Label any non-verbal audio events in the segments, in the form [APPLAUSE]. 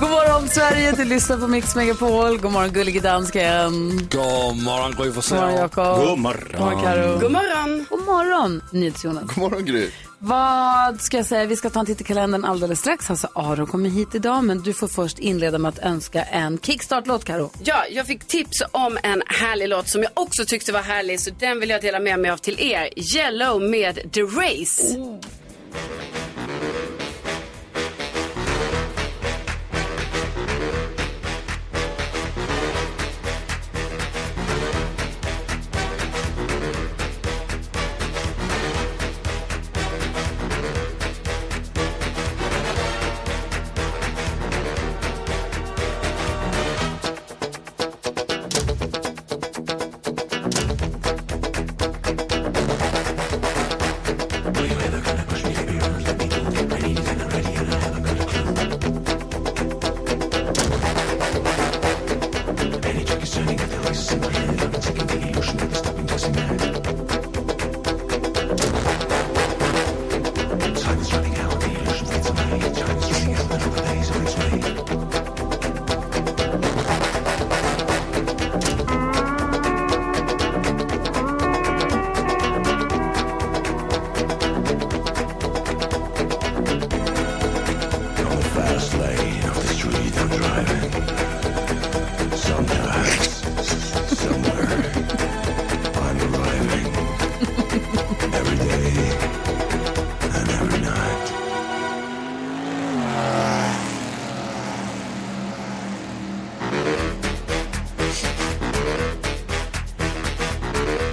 God morgon Sverige, du lyssnar på Mix Megapol. God morgon gullige dansken. God morgon Gry God morgon Forssell. Jakob. God morgon. God morgon Karo. God morgon! God morgon NyhetsJonas. God morgon Gry. Vad ska jag säga? Vi ska ta en titt i kalendern alldeles strax. Alltså Aron kommer hit idag men du får först inleda med att önska en kickstart-låt Karo. Ja, jag fick tips om en härlig låt som jag också tyckte var härlig så den vill jag dela med mig av till er. Yellow med The Race.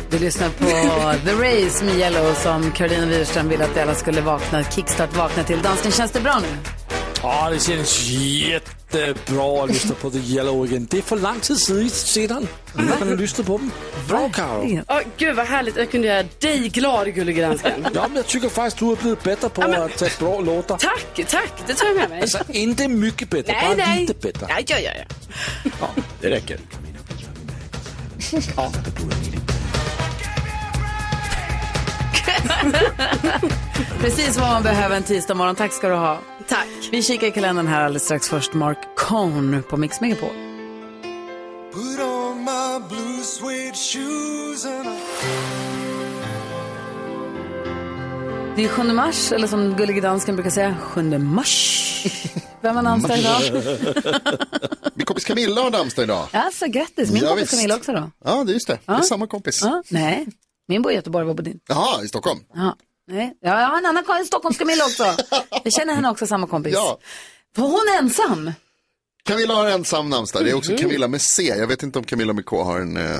Du lyssnar [LAUGHS] på The Race med Yellow som Karolina Widerström ville att vi alla skulle vakna, kickstart vakna till. Dansken, känns det bra nu? Ja, det känns jättebra att lyssna på The Yellow igen. Det är för lång tid sedan- sedan man har lyssnat på dem. Bra Karo. Åh, gud vad härligt, jag kunde göra dig glad gullige [LAUGHS] dansken. Ja, men jag tycker faktiskt du har blivit bättre på att ta bra låtar. tack, tack, det tar jag med mig. Alltså inte mycket bättre, nej, bara nej. lite bättre. Ja, ja, ja, ja. Det räcker. [LAUGHS] Precis vad man behöver en tisdag morgon. Tack ska du ha. Tack. Vi kikar i kalendern här alldeles strax. Först Mark Cohn på Mix Megapol. Put on my blue suede shoes and I... Det är 7 mars, eller som gullige dansken brukar säga, 7 [LAUGHS] mars. Vem har namnsdag idag? Min kompis Camilla har namnsdag idag. Alltså grattis, min Ja, kompis visst. Camilla också då. Ja, det är just det. Det är samma kompis. Ja, nej, min bor i Göteborg, vad bor din? Jaha, i Stockholms. Ja, nej. Ja, jag har en annan kompis, Stockholms Camilla också. Jag känner henne också, samma kompis. Ja. För hon är ensam. Camilla har ensam namnsdag. Det är Mm. också Camilla med C. Jag vet inte om Camilla med K har en... eh,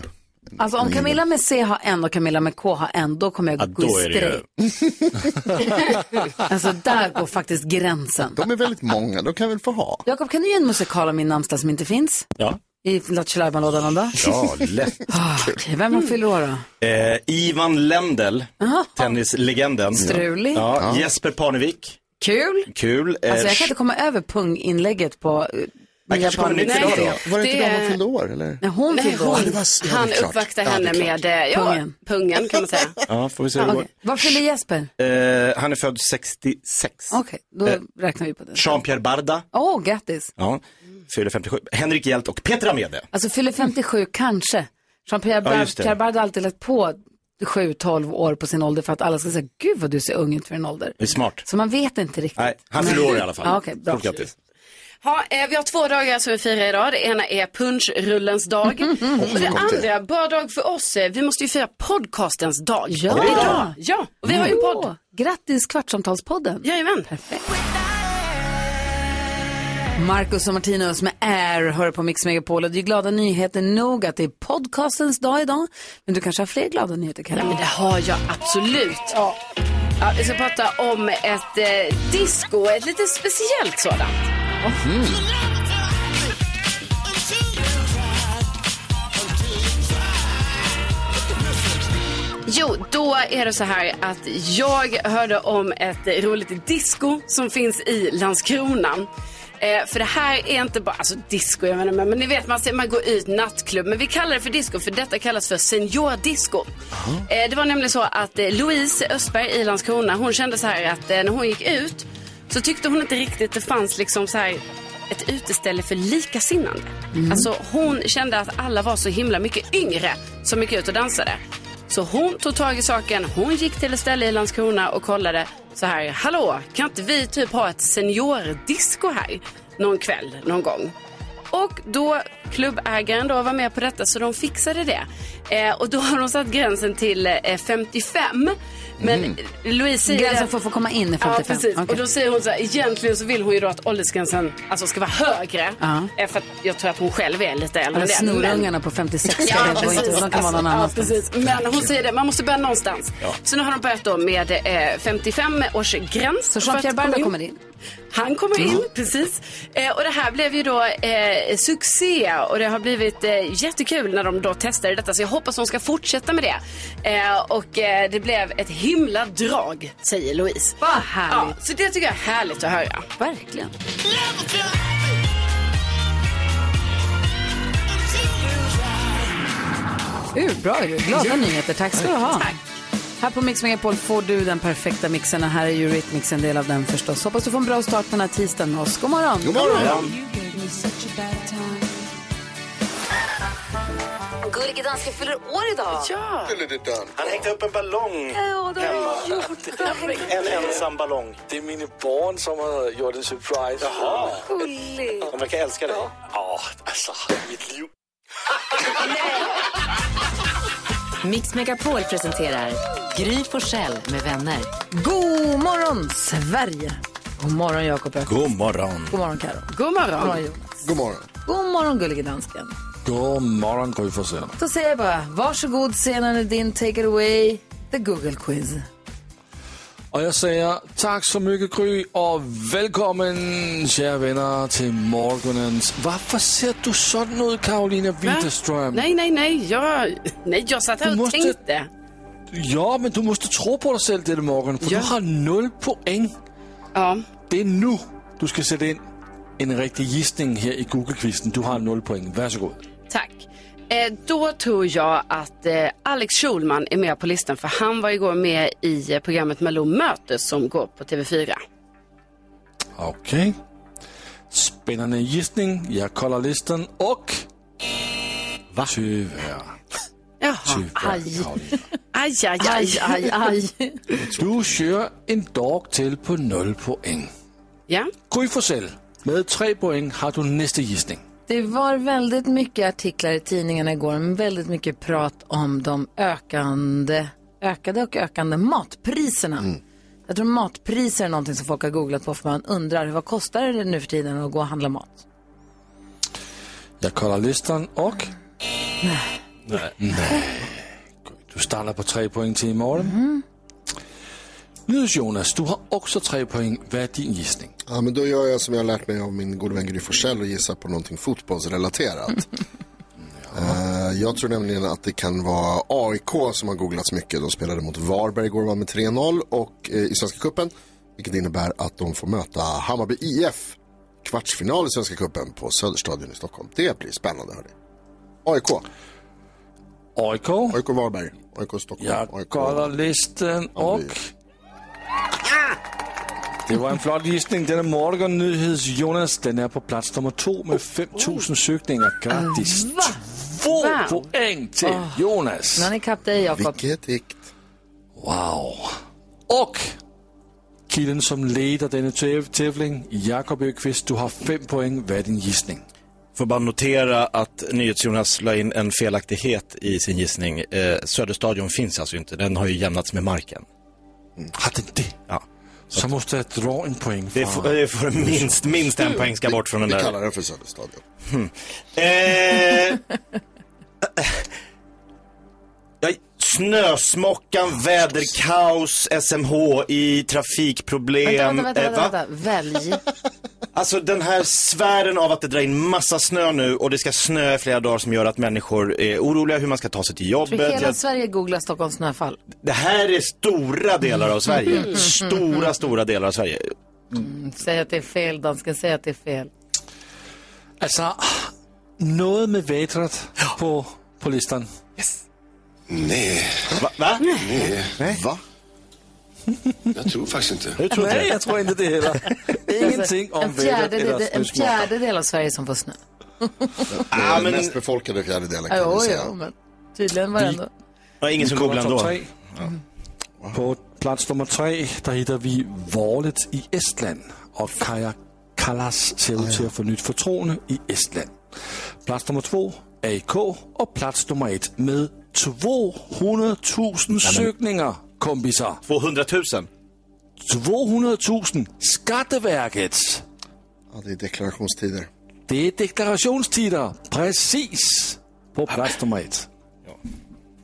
Alltså om Camilla med C har en och Camilla med K har en, då kommer jag gå i strejk. [LAUGHS] Alltså där går faktiskt gränsen. De är väldigt många, de kan väl få ha. Jakob, kan du ge en musikal om min namnsdag som inte finns? Ja. I Lattjo Lajban-lådan någon dag? Ja, lätt. [LAUGHS] Ah, okej. Vem Mm. man fyller år då? Eh, Ivan Lendl, tennislegenden. Strulig. Ja, Jesper Parnevik, Kul. kul. Eh, Alltså jag kan inte komma över punginlägget på eh, Jag Mia kanske kommer nytt idag Parnevik. då. Var det, Det inte de är- hon fyllde år eller? När hon Nej, fyllde år. hon, det var- ja, han det är klart. uppvaktar Ja, det är henne klart. med eh, ja, Pungen. pungen. kan man [LAUGHS] säga. Ja, får vi se hur det går. Okej. Vad fyller Jesper? Eh, han är född 66. Okej, då räknar vi på det. Jean-Pierre Barda, Åh, oh, grattis. ja, fyller 57. Henrik Hjelt och Peter Amede. Alltså fyller 57 kanske. Jean-Pierre Ja, Bar- just det. Pierre Bard har alltid lagt på 7-12 år på sin ålder för att alla ska säga gud vad du ser ung ut för din ålder. Det är smart. Så man vet inte riktigt. Nej, han fyller år i alla fall. Ja, okej, bra. Stort grattis. Ha, eh, vi har två dagar som vi firar idag. Det ena är punschrullens [LAUGHS] dag. och det andra, bra dag för oss, eh, vi måste ju fira podcastens dag. Ja. Idag. ja och vi har ju en podd. Åh, grattis Kvartsamtalspodden. Jajamän. Marcus och Martinus med Air hör på Mix Megapol och det är glada nyheter nog att det är podcastens dag idag. Men du kanske har fler glada nyheter Ja, men Karin? det har jag absolut. Ja. vi ska prata om ett eh, disco, ett lite speciellt sådant. Mm. Jo, då är det så här att jag hörde om ett eh, roligt disco som finns i Landskrona. Eh, för det här är inte bara, alltså disco, jag menar, men men ni vet man, ser, man går ut nattklubb. Men vi kallar det för disco för detta kallas för seniordisco. Eh, det var nämligen så att eh, Louise Östberg i Landskrona, hon kände så här att eh, när hon gick ut så tyckte hon inte riktigt det fanns liksom så här ett uteställe för likasinnande. Alltså hon kände att alla var så himla mycket yngre som gick ut och dansade. Så hon tog tag i saken, hon gick till ett ställe i Landskrona och kollade så här, hallå, kan inte vi typ ha ett seniordisco här någon kväll, någon gång? Och då klubbägaren då var med på detta så de fixade det. Eh, och då har de satt gränsen till eh, 55. Men Louise säger Mm. Gränsen att- för att få komma in är 55. Ja, precis. Okej. Och då säger hon så här, egentligen så vill hon ju då att åldersgränsen alltså, ska vara högre. Ja. Eh, För att jag tror att hon själv är lite äldre Eller än det. men- snorungarna på 56 Ja, det går precis. inte. De kan vara Alltså, någon ja, annanstans. precis. Men hon säger det, man måste börja någonstans. Så nu har de börjat då med eh, 55 års gräns. Så Jean-Pierre Barda kommer in. Han kommer in, Mm. precis. Eh, och det här blev ju då eh, succé och det har blivit eh, jättekul när de då testade detta. Så jag hoppas de ska fortsätta med det. Eh, och eh, det blev ett himla drag, säger Louise. Vad härligt. Ja, så det tycker jag är härligt att höra. Verkligen. Urbra ju. Glada nyheter. Tack ska du ha. Tack. Här på Mix Megapol får du den perfekta mixen och här är ju Eurythmics en del av den förstås. Hoppas du får en bra start på den här tisdagen med oss. God morgon. God morgon. Gullige dansken fyller år idag. Han hängde upp en ballong. Ja, det har jag gjort. En ensam ballong. Det är mina barn som har gjort en surprise. Ja, Gullig. de verkar älska dig. Ja, alltså mitt liv. Mix Megapol presenterar Gry Forssell med vänner. God morgon Sverige. God morgon Jakob Öqvist. God morgon. God morgon Karo. God God morgon. morgon Jonas. God morgon. God morgon gullige dansken. God morgon Gry Forssell. Då säger jag bara, varsågod scenen är din, take it away, the Google quiz. Och jag säger tack så mycket Gry och välkommen kära vänner till morgonens. Varför ser du sådan ut Karolina Widerström? Nej, nej, nej. Jag, nej, jag satt här Du och måste- tänkte. Ja, men du måste tro på dig själv denne morgon, för Ja. du har noll poäng. Ja. Det är nu du ska sätta in en riktig gissning här i Google-quizen. Du har noll poäng. Varsågod. Tack. Eh, då tror jag att eh, Alex Schulman är med på listan för han var igår med i eh, programmet Malou möter som går på TV4. Okej. Spännande gissning. Jag kollar listan och... Va? Tyvärr. Jaha. Tyvärr, Aj. Karolina. Aj, aj, aj. Aj, aj, aj. Du kör en dag till på noll poäng. Ja. Gry Forssell, med tre poäng har du nästa gissning. Det var väldigt mycket artiklar i tidningarna igår, men väldigt mycket prat om de ökande, ökade och ökande matpriserna. Jag tror matpriser är någonting som folk har googlat på för man undrar vad kostar det nu för tiden att gå och handla mat? Jag kollar listan och... Nej. Nej. Du startar på tre poäng till imorgon. Nyhets Jonas, du har också tre poäng. Vad är din gissning? Ja, men då gör jag som jag har lärt mig av min gode vän Gry Forssell och gissar på någonting fotbollsrelaterat. Eh, Jag tror nämligen att det kan vara AIK som har googlats mycket. De spelade mot Varberg igår var med 3-0 och, eh, i Svenska Cupen. Vilket innebär att de får möta Hammarby IF kvartsfinal i Svenska Cupen på Söderstadion i Stockholm. Det blir spännande hörni. AIK, AIK? AIK Varberg, AIK Stockholm, Jag AIK. kollar listan och... Det var en flott gissning. Denna morgon, Nyhets Jonas, den är på plats nummer två med 5000 sökningar. Grattis! Två Wow. poäng till Jonas! Nu har ni kappt dig Jakob. Vilket dikt. Wow. Och killen som leder denna täv- tävling, Jakob Öqvist, du har fem poäng. Vad är din gissning? Får bara notera att NyhetsJonas la in en felaktighet i sin gissning. Eh, Söderstadion finns alltså inte, den har ju jämnats med marken. Har den Mm. det? Ja. Så måste jag dra en poäng. Det får, det får minst, minst en poäng ska bort från den Vi där. kallar den för Söderstadion. Hmm. Eh, [LAUGHS] Ja, Snösmockan, väderkaos, SMH i Vänta, trafikproblem. vänta, vänta, Eh, vänta, va? vänta. välj. Alltså den här sfären av att det drar in massa snö nu och det ska snö i flera dagar som gör att människor är oroliga hur man ska ta sig till jobbet. För hela Jag- Sverige googlar Stockholms snöfall. Mm. Det här är stora delar av Sverige. Stora, stora delar av Sverige. Säg att det är fel, dansken. Säg att det är fel. Altså, noget med vædret på, på listan. Nej, Va? Va? nej. Va? Jag tror faktiskt inte. Jag tror inte Nej, det. jeg tror ikke det [LAUGHS] heller. Ingenting om en vædret eller fjärdedel, små en smaker. fjärdedel av Sverige som får snö. Det är Ja, den men- mest befolkade fjärdedelen kan Jo, vi jo, säga. men tydligen var det ändå. Det var ingen som Kommer googlade top ändå. tre. På plats nummer tre, der hitter vi Vorlet i Estland. Og Kaja Kallas ser ud til at få nyt fortroende i Estland. Plats nummer to, AK. Og plats nummer et med 200.000 søgninger, kompiser. 200 000. 200.000. Skatteverket. Ja, det är deklarationstider. Det er deklarationstider. Præcis. På plats nummer et.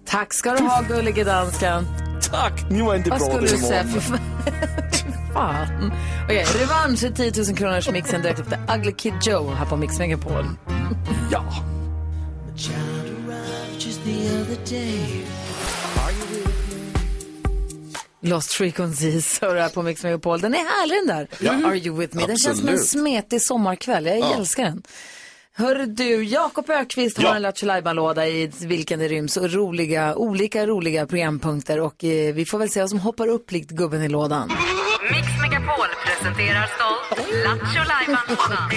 Tack ska du ha, gullige dansken. Tak. Nu er det Vad skulle blå du til säga? morgen. Fy fan. [LAUGHS] fan. Okej, revansch är 10 000 kronors mixen direkt efter Ugly Kid Joe här på Mix Megapol. Ja. Lost Frequencies hör här på Mix Megapol. Den är härlig den där. Mm-hmm. Are you with me? Den känns som en Absolut. smetig sommarkväll. Jag älskar den. Hör du, Jakob Ökvist har Ja. en Lattjo Lajban-låda i vilken det ryms och roliga, olika roliga programpunkter och eh, vi får väl se vad som hoppar upp likt gubben i lådan. Mix Megapol presenterar stolt [LAUGHS] Lattjo Lajban-lådan.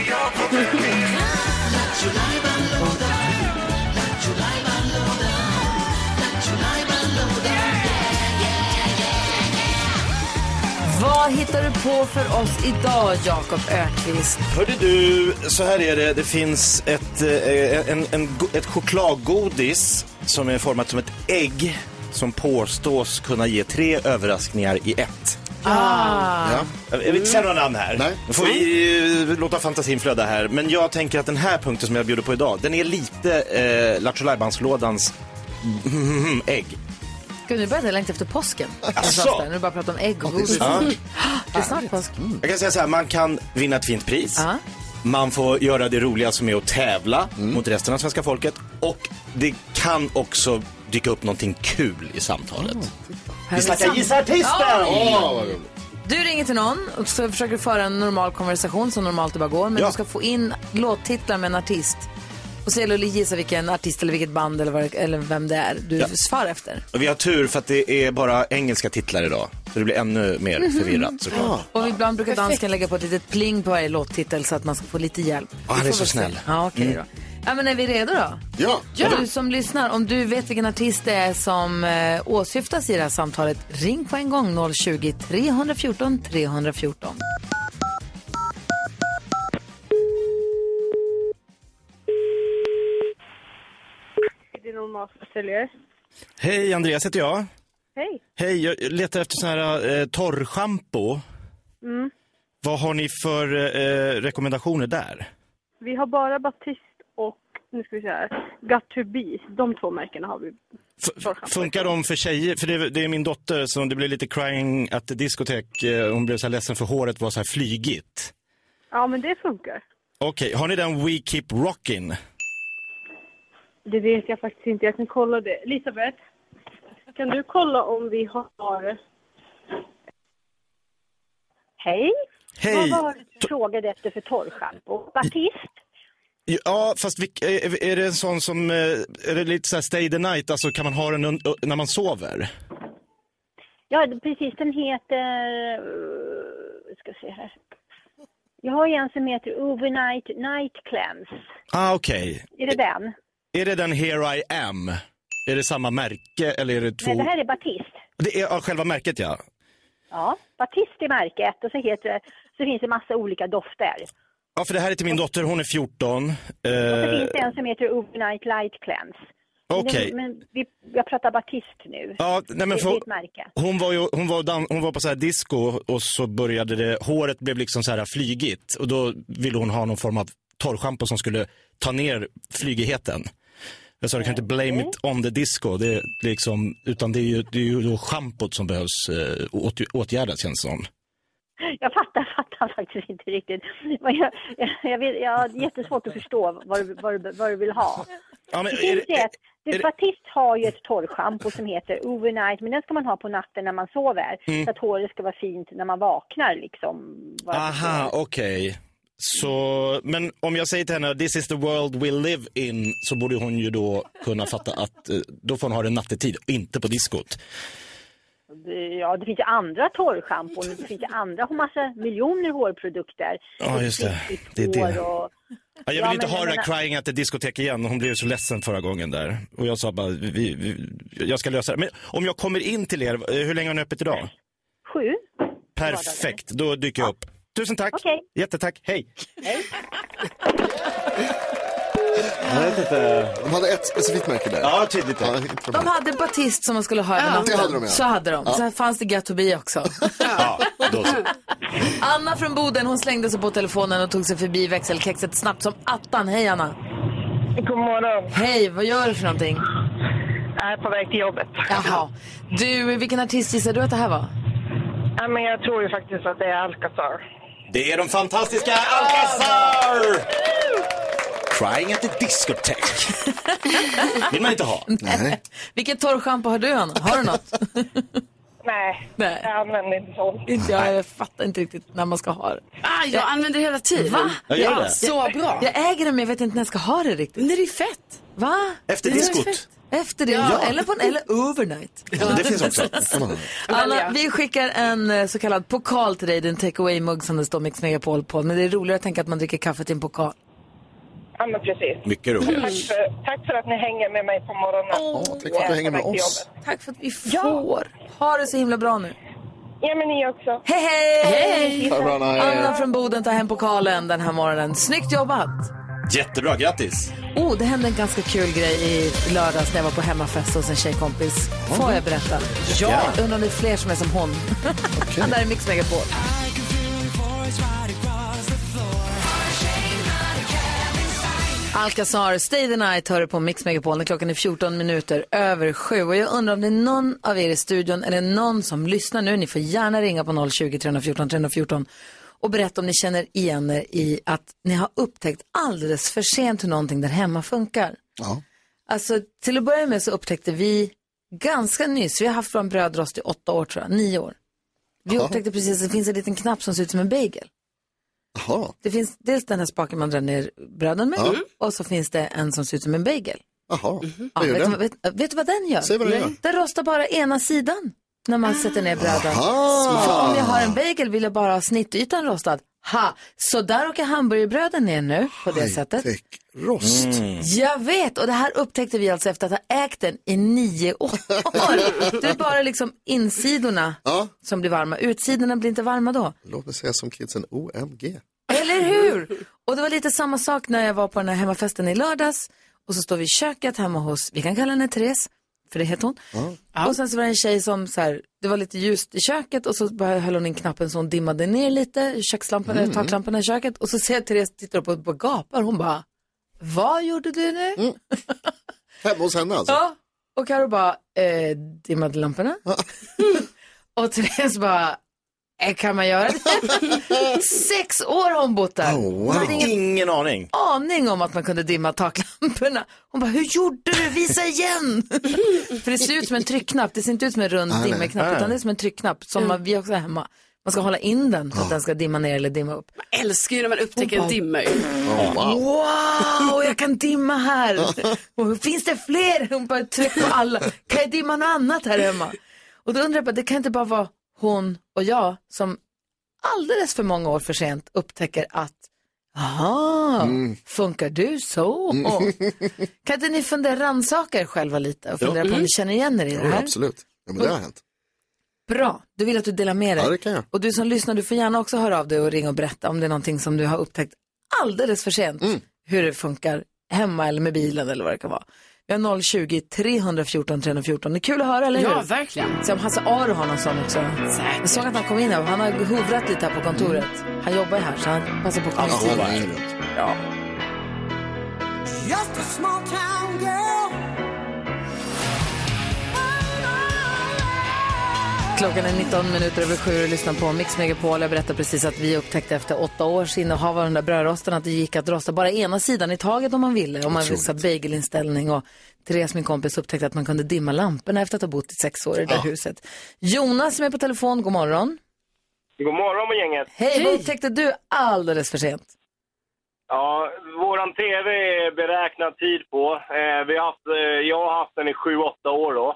Vad hittar du på för oss idag, Jakob Ökvist? Hörde du, så här är det. Det finns ett, eh, en, en, go- ett chokladgodis som är format som ett ägg som påstås kunna ge tre överraskningar i ett. Ja. Ah. Jag vill inte säga några namn här. Nej. Nu får vi eh, låta fantasin flöda här. Men jag tänker att den här punkten som jag bjuder på idag, den är lite eh, Lattjo Lajbans-lådans [LAUGHS] ägg. Gud, nu börjar jag längta efter påsken. Asså? Nu börjar jag prata om ägg och det är godis. så Ah, [GASPS] Det är snart påsk. Jag kan säga så här, man kan vinna ett fint pris. Ja. Man får göra det roliga som är att tävla mot resten av svenska folket. Och det kan också dyka upp någonting kul i samtalet. Här Vi är snackar sam- gissartisten! Åh, vad roligt. Du ringer till någon och så försöker du föra en normal konversation som normalt det bara går. Men Ja. du ska få in låttitlar med en artist. Och så gäller det att gissa vilken artist eller vilket band eller, vad, det- eller vem det är du Ja. svarar efter. Och Vi har tur för att det är bara engelska titlar idag. Så det blir ännu mer Mhm. förvirrat såklart. Mm-hmm. Och ibland brukar dansken lägga på ett litet pling på varje låttitel så att man ska få lite hjälp. Ja, han Vi är får så väl se. snäll. Mm. Ja, okej då. Ja, men är vi redo då? Ja. Du som lyssnar, om du vet vilken artist det är som eh, åsyftas i det här samtalet, ring på en gång 020-314 314. Det är någon matförsäljare. Hej, Andreas heter jag. Hej. Hej, jag letar efter sån här eh, torrschampo. Mm. Vad har ni för eh, rekommendationer där? Vi har bara Batist och, nu ska vi se här, Got to be. De två märkena har vi. F- Torrschampo. funkar de för tjejer? För det, det är min dotter som det blev lite crying at the discotek. Eh, hon blev så här ledsen för håret var så här flygigt. Ja, men det funkar. Okej, har ni den We Keep Rockin? Det vet jag faktiskt inte. Jag kan kolla det. Elisabeth, kan du kolla om vi har... Hej! Hej! Vad var det du frågade efter för torrschampo? Batist? Ja, fast vilk, är, är det en sån som, eh, är det lite så här stay the night, alltså kan man ha den un- när man sover? Ja, precis. Den heter... eh, ska se här. Jag har ju en som heter Overnight Night Cleanse. Ah, okej. Är det den? Är det den Here I Am? Är det samma märke eller är det två? Nej, det här är Batist. Det är ja, själva märket ja. Ja, Batist är märke ett och så, heter det, så finns det massa olika dofter. Ja, för det här är till min dotter, hon är Eh, 14. Eh, Så finns det en som heter Overnight Light Cleanse. Men den- Okej. Men vi, jag pratar Batist nu. Ja, nej men Det är för, ett märke. hon var ju, hon var, dan- hon var på så här disco och så började det, håret blev liksom så här flygigt och då ville hon ha någon form av torrschampo som skulle ta ner flygigheten. Jag sa du kan inte blame it on the disco, det är liksom, utan det är ju, det är ju då schampot som behövs eh, åt, åtgärdas känns det som. Jag fattar, [LAUGHS] fattar faktiskt inte riktigt. Men jag, jag, jag, vill, jag har jättesvårt att förstå vad, du- vad, du- vad du vill ha. Ja, men Det är finns ju det, ett, Du, Batist har ju ett torrschampo som heter overnight, men den ska man ha på natten när man sover. Mm. Så att håret ska vara fint när man vaknar liksom. Vad jag Aha, okej. Så, men om jag säger till henne this is the world we live in så borde hon ju då kunna fatta att eh, då får hon ha det nattetid, inte på diskot. Ja, det finns ju andra torrschampon, det finns ju andra, har massa miljoner hårprodukter. Typ Ja, just det. Det är det. Hår Och... Ja, jag Ja, vill inte men ha jag det där menar- crying at the diskotek igen. Hon blev så ledsen förra gången där. Och jag sa bara, vi, vi, jag ska lösa det. Men om jag kommer in till er, eh, hur länge har ni öppet idag? Sju. Perfekt, då dyker jag upp. Tusen tack. Okej. Jättetack. Hej. Jag vet inte. De hade ett specifikt märke där. Ja, tydligt. Ja, inte de De här. hade Batist som man skulle ha över natten. det hade de, ja. Så hade de. Sen fanns det Gatobi [LAUGHS] också. Ja, då så. Anna från Boden, hon slängde sig på telefonen och tog sig förbi växelkexet snabbt som attan. Hej Anna! God morgon. Hej, vad gör du för någonting? Jag är på väg till jobbet. Jaha. Du, vilken artist gissar du att det här var? Ja, men jag tror ju faktiskt att det är Alcazar. Det är de fantastiska Alcazar! Crying at the discotheque. [LAUGHS] Vill man inte ha. Nej. Vilket torrschampo har du Anna? Har du något? [LAUGHS] Nej, Nej. jag använder inte sånt. Inte jag, jag fattar inte riktigt när man ska ha det. Ah, jag använder det hela tiden. Va? Jag gör det. Så bra. Jag äger det men jag vet inte när jag ska ha det riktigt. Men det är ju fett. Va? Efter diskot. Efter det, ja. eller, på en, eller overnight. Det finns Mm. också. Anna, vi skickar en eh, så kallad pokal till dig, en takeaway mugg som det står Mix Megapol på. Men det är roligare att tänka att man dricker kaffet i en pokal. Ja, men precis. Mycket roligt. Tack för, tack för att ni hänger med mig på morgonen. Ja, tack för att du hänger med oss. Tack för att vi får. Ha det så himla bra nu. Ja, men ni också. Hej, hej! Ha det bra, Anna. Hej. Anna från Boden tar hem pokalen den här morgonen. Snyggt jobbat! Jättebra, grattis. Oh, det hände en ganska kul grej i lördags när jag var på hemmafest hos en tjejkompis. Får jag berätta? Ja! Jag undrar om det är fler som är som hon. Det här är Mix Megapol. Alcazar, Stay the Night hör du på Mix Megapol när klockan är 14 minuter över sju. Och jag undrar om det är någon av er i studion eller någon som lyssnar nu, ni får gärna ringa på 020 314 314 och berätta om ni känner igen er i att ni har upptäckt alldeles för sent hur någonting där hemma funkar. Ja. Alltså till att börja med så upptäckte vi ganska nyss, vi har haft vår brödrost i åtta år tror jag, nio år. Vi upptäckte precis att det finns en liten knapp som ser ut som en bagel. Jaha. Det finns dels den här spaken man drar ner bröden med och så finns det en som ser ut som en bagel. Jaha. Mhm. Ja, Vad gör vet, du, den? vet, vet du vad den gör? Säg vad den gör. Den rostar bara ena sidan när man sätter ner bröden. För om jag Aha. har en bagel vill jag bara ha snittytan rostad. Ha! Så där åker hamburgerbröden ner nu på det sättet. High-tech rost. Mm. Mm. Jag vet, och det här upptäckte vi alltså efter att ha ägt den i nio [LAUGHS] år. Det är bara liksom insidorna Ja, som blir varma. Utsidorna blir inte varma då. låt mig säga som kidsen, OMG. Eller hur? Och det var lite samma sak när jag var på den här hemmafesten i lördags. Och så står vi i köket hemma hos, vi kan kalla henne Therese, för det heter hon. Och sen så var det en tjej som så här, det var lite ljust i köket och så började- höll hon in knappen så hon dimmade ner lite, kökslamporna, mm. taklamporna i köket. Och så ser jag Therese tittar upp och bara gapar. Hon bara, vad gjorde du nu? Hemma hos henne alltså? Ja, och Karo bara, eh, dimmade lamporna? [LAUGHS] och Therese bara, eh, kan man göra [LAUGHS] det? Sex år har hon bott där. Oh, wow. Hon hade ingen Ingen aning. aning om att man kunde dimma taklamporna. Hon bara, hur gjorde du? Visa [LAUGHS] igen! För det ser ut som en tryckknapp, det ser inte ut som en rund nej. dimmerknapp, utan det är som en tryckknapp som man, vi också har hemma. Man ska hålla in den för att den ska dimma ner eller dimma upp. Jag älskar ju när man upptäcker en dimmer. Oh, wow. Wow, Ah, jag kan dimma här. Och, Finns det fler? Hon bara trycker på alla. Kan jag dimma något annat här hemma? Och då undrar jag bara, det kan inte bara vara hon och jag som alldeles för många år för sent upptäcker att Jaha, Mm. funkar du så? Mm. Kan inte ni fundera, rannsaka er själva lite och fundera på om ni känner igen er i det Ja, här? absolut. Ja, men det har hänt. Bra, du vill att du delar med dig. Ja, det kan jag. Och du som lyssnar, du får gärna också höra av dig och ringa och berätta om det är någonting som du har upptäckt alldeles för sent. Mm. Hur det funkar hemma eller med bilen eller vad det kan vara. Vi har 020-314 314. Det är kul att höra, eller hur? Ja, verkligen. Se om Hasse Aro har någon sån också. Jag såg att han kom in här. Han har hovrat lite här på kontoret. Han jobbar ju här så han passar på att komma Ja, in. hon ringer runt. Klockan är 19 minuter över sju och lyssnar på Mix Megapol. Jag berättade precis att vi upptäckte efter åtta års innehav av den där brödrosten att det gick att rosta bara ena sidan i taget om man ville. Om man ville ha bagelinställning. Och Therese, min kompis, upptäckte att man kunde dimma lamporna efter att ha bott i sex år i det där huset. Jonas som är på telefon, god morgon. God morgon med gänget. Hej, vad upptäckte du alldeles för sent? Ja, våran TV är beräknad tid på. Eh, vi har haft, eh, jag har haft den i 7-8 år då.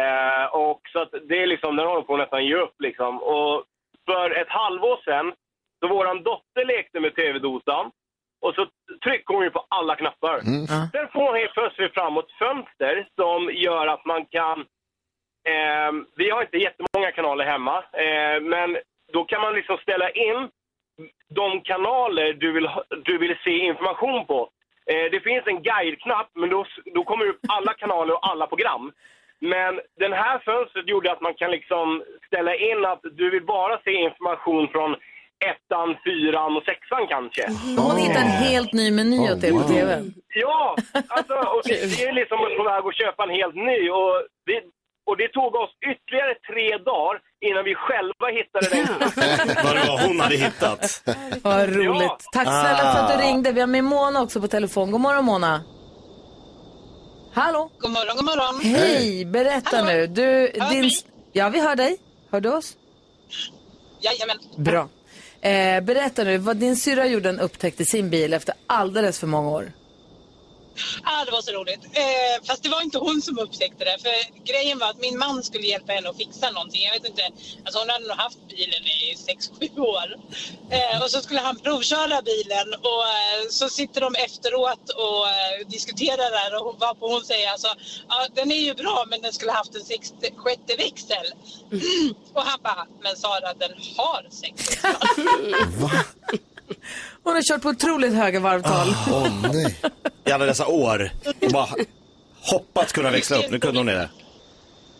Eh, och så att det är liksom, den håller på att nästan ge upp liksom. Och för ett halvår sedan, så våran dotter lekte med TV-dosan. Och så trycker hon ju på alla knappar. Sen får hon helt plötsligt fram ett fönster som gör att man kan Eh, vi har inte jättemånga kanaler hemma, eh, men då kan man liksom ställa in de kanaler du vill, ha- du vill se information på. Eh, det finns en guide-knapp, men då, s- då kommer upp alla kanaler och alla program. Men den här fönstret gjorde att man kan liksom ställa in att du vill bara se information från ettan, fyran och sexan kanske. Hon hittade en helt ny meny åt er på TV. Ja, alltså, och vi är liksom på väg att köpa en helt ny. Och, vi, och det tog oss ytterligare tre dagar innan vi själva hittade den. Vad det var hon hade hittat. Ah. Vad roligt. Tack snälla för Ah. att du ringde. Vi har med Mona också på telefon. God morgon Mona. Hallå? God morgon, god morgon. Hej, berätta nu. Du, Hör din... mig? Ja, vi hör dig. Hör du oss? Jajamän. Bra. Eh, berätta nu, vad din syrra gjorde en upptäckt i sin bil efter alldeles för många år. Ah, det var så roligt. Eh, fast det var inte hon som upptäckte det. För grejen var att min man skulle hjälpa henne att fixa någonting. Jag vet inte, alltså hon hade nog haft bilen i 6-7 år. Eh, och så skulle han provköra bilen och eh, så sitter de efteråt och eh, diskuterar det här. Och hon, varpå hon säger alltså, ah, den är ju bra men den skulle haft en sexte, sjätte växel. och han bara, men Sara den har sex [LAUGHS] Hon har kört på otroligt höga varvtal. Ah. nej. I alla dessa år. Och bara hoppats kunna växla upp. Nu kunde hon det.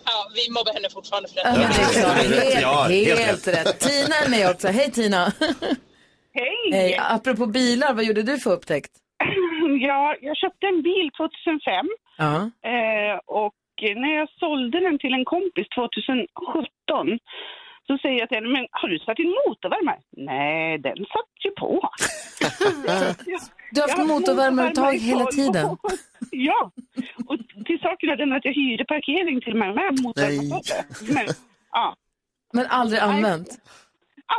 Ja, vi mobbar henne fortfarande för Ja, men det är klart. Helt, Ja, helt, helt rätt. Tina är med också. Hej Tina. Hej! Hej. Apropå bilar, vad gjorde du för upptäckt? [CLEARS THROAT] Ja, jag köpte en bil 2005 Ja. eh, och när jag sålde den till en kompis 2017 så säger jag till henne, men har du satt in motorvärmare? Nej, den satt ju på. Du har haft Jag har motorvärmaruttag motorvärmare i hela tolv tiden. år. [LAUGHS] Ja, och till saken är den att jag hyrde parkering till mig med motorvärmare. Men, ja, Men aldrig använt?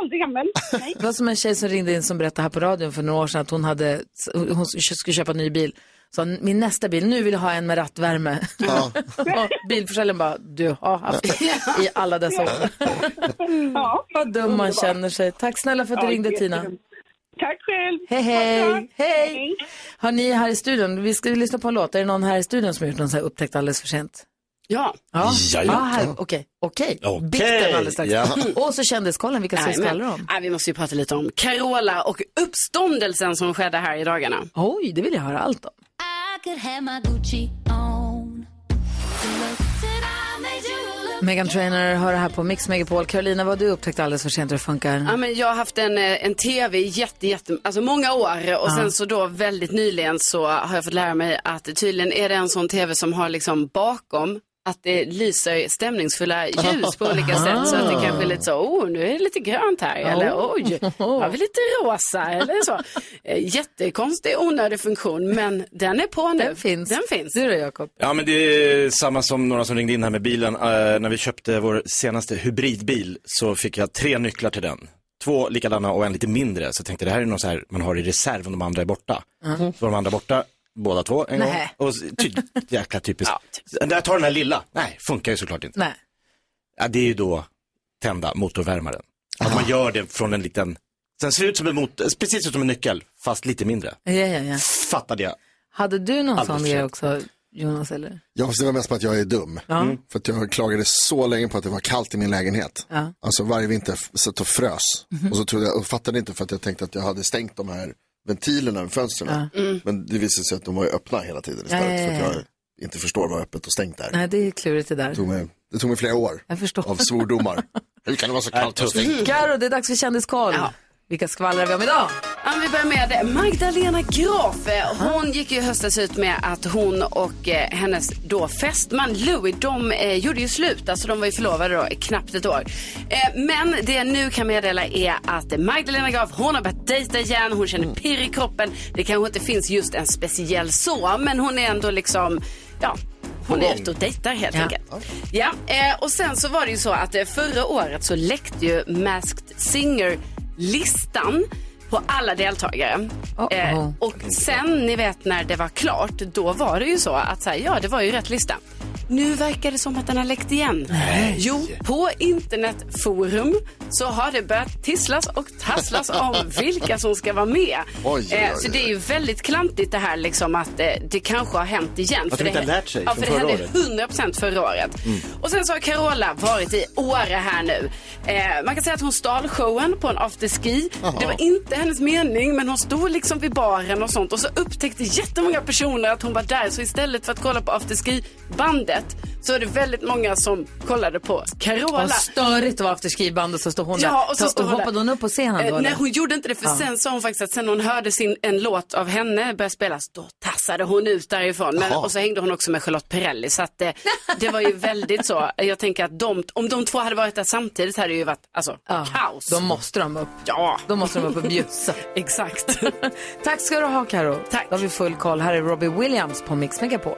aldrig använt. Nej. Det var som en tjej som ringde in som berättade här på radion för några år sedan att hon, hade, hon skulle köpa en ny bil. Så min nästa bil, nu vill jag ha en med rattvärme. [LAUGHS] Och bilförsäljaren bara, du har haft det i alla dessa år. Ja. Vad dum man känner sig. Tack snälla för att du Ja, ringde Tina. jättedumt. Tack själv. Hej, hej. hej. Har ni här i studion, vi ska lyssna på en låt. Är det någon här i studion som har gjort någon så här upptäckt alldeles för sent? Ja. Ja, Jajamän. ah, här- okej. Okej. Okej. Bikten alldeles strax. Ja. [LAUGHS] Och så kändiskollen, vilka ska vi skvallra om? Nej, vi måste ju prata lite om Carola och uppståndelsen som skedde här i dagarna. Oj, det vill jag höra allt om. I could have my Gucci on. The look that I made you look. Megan Trainer hör här på Mix Megapol. Carolina, vad har du upptäckt alldeles för sent hur det funkar? Ja, men jag har haft en, eh, en tv i jätte, jätte, alltså många år och Ja. sen så då väldigt nyligen så har jag fått lära mig att tydligen är det en sån tv som har liksom bakom att det lyser stämningsfulla ljus på olika sätt så att det kanske är lite så, oh nu är det lite grönt här eller Oh. [LAUGHS] oj, har vi lite rosa eller så. Eh, Jättekonstig onödig funktion men den är på nu. Den finns. Den finns. Du då Jakob? Ja, men det är samma som några som ringde in här med bilen. Eh, när vi köpte vår senaste hybridbil så fick jag tre nycklar till den. Två likadana och en lite mindre. Så jag tänkte det här är något så här man har i reserv om de andra är borta. Mm. Så var de andra borta, båda två en Nähä. gång. Och så- ty, jäkla typiskt. Jag tar den här lilla. Nej, funkar ju såklart inte. typ. Nej. Ja, det är ju då tända motorvärmaren. Att Ah. man gör det från en liten, den ser ut som en mot... precis som en nyckel, fast lite mindre. Ja, ja, ja. Fattade jag. Hade du någon Alldeles sån för grej sent. också, Jonas? Eller? Ja, fast det var mest med att jag är dum. Ja. Mm. För att jag klagade så länge på att det var kallt i min lägenhet. Ja. Alltså varje vinter f- satt och frös. Mhm. Och så trodde jag, och fattade inte för att jag tänkte att jag hade stängt de här ventilerna vid fönstren. Ja. Mm. Men det visade sig att de var ju öppna hela tiden istället. Ja, ja, ja, För att ja. jag inte förstår vad öppet och stängt är. Nej, det är klurigt det Det där. tog mig, det tog mig flera år Jag förstår. [LAUGHS] av svordomar. Hur kan det vara så kallt och stängt? Karo, det är dags för kändiskoll. Vilka skvallrar vi om idag? Ja, men vi börjar med Magdalena Graf. Hon gick ju i höstas ut med att hon och eh, hennes då fästman Louis, de eh, gjorde ju slut. Alltså de var ju förlovade då i knappt ett år. Eh, men det jag nu kan meddela är att Magdalena Graf, hon har börjat dejta igen. Hon känner pirr i kroppen. Det kanske inte finns just en speciell så, men hon är ändå liksom, ja. Hon är ute och dejtar helt Ja. enkelt. Ja, eh, och sen så var det ju så att eh, förra året så läckte ju Masked Singer-listan på alla deltagare. Eh, och sen, ni vet när det var klart, då var det ju så att så här, ja, det var ju rätt lista. Nu verkar det som att den har läckt igen. Jo, på internetforum så har det börjat tisslas och [LAUGHS] tasslas om vilka som ska vara med. Oj, oj, Eh, oj, Så det är ju väldigt klantigt det här liksom att eh, det kanske har hänt igen. Att För de inte det- har lärt sig Ja, från för det förra hände året. 100% förra året. Mm. Och sen så har Carola varit i Åre här nu. Eh, man kan säga att hon stal showen på en afterski. Jaha. Det var inte hennes mening men hon stod liksom vid baren och sånt och så upptäckte jättemånga personer att hon var där så istället för att kolla på afterski-bandet så är det väldigt många som kollade på Carola. Vad störigt att vara afterski-bandet så står hon Ja, där. och så Ta- står hon där. hoppade hon upp på scenen då? Eh, nej, eller? hon gjorde inte det för Ja. sen sa hon faktiskt att sen hon hörde sin, en låt av henne börja spelas, då tassade hon ut därifrån. Men, Jaha. och så hängde hon också med Charlotte Perrelli så att eh, det [LAUGHS] var ju väldigt så. Jag tänker att de, om de två hade varit där samtidigt hade det ju varit alltså, kaos. Då måste [LAUGHS] de upp. Ja. Då måste de upp och bjussa. [LAUGHS] Exakt. Tack ska du ha Karo. Tack. Då har vi full koll. Här är Robbie Williams på Mix Megapol.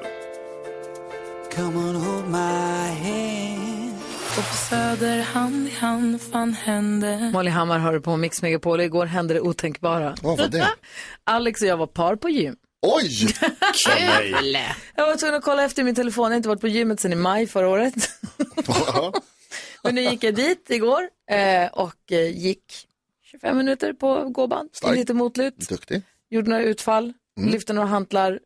Come on, hold my hand. Och på Söder hand i hand fan hände. Molly Hammar hör du på Mix Megapol och igår hände det otänkbara. Vad var det? [LAUGHS] Alex och jag var par på gym. Oj! Kul! [LAUGHS] Jag var tvungen att kolla efter i min telefon. Jag har inte varit på gymmet sedan i maj förra året. [LAUGHS] Men nu gick jag dit igår eh, och eh, gick 25 minuter på gåband. Stark. Lite motlut. Duktig. gjorde några utfall, Mm. lyfte några hantlar,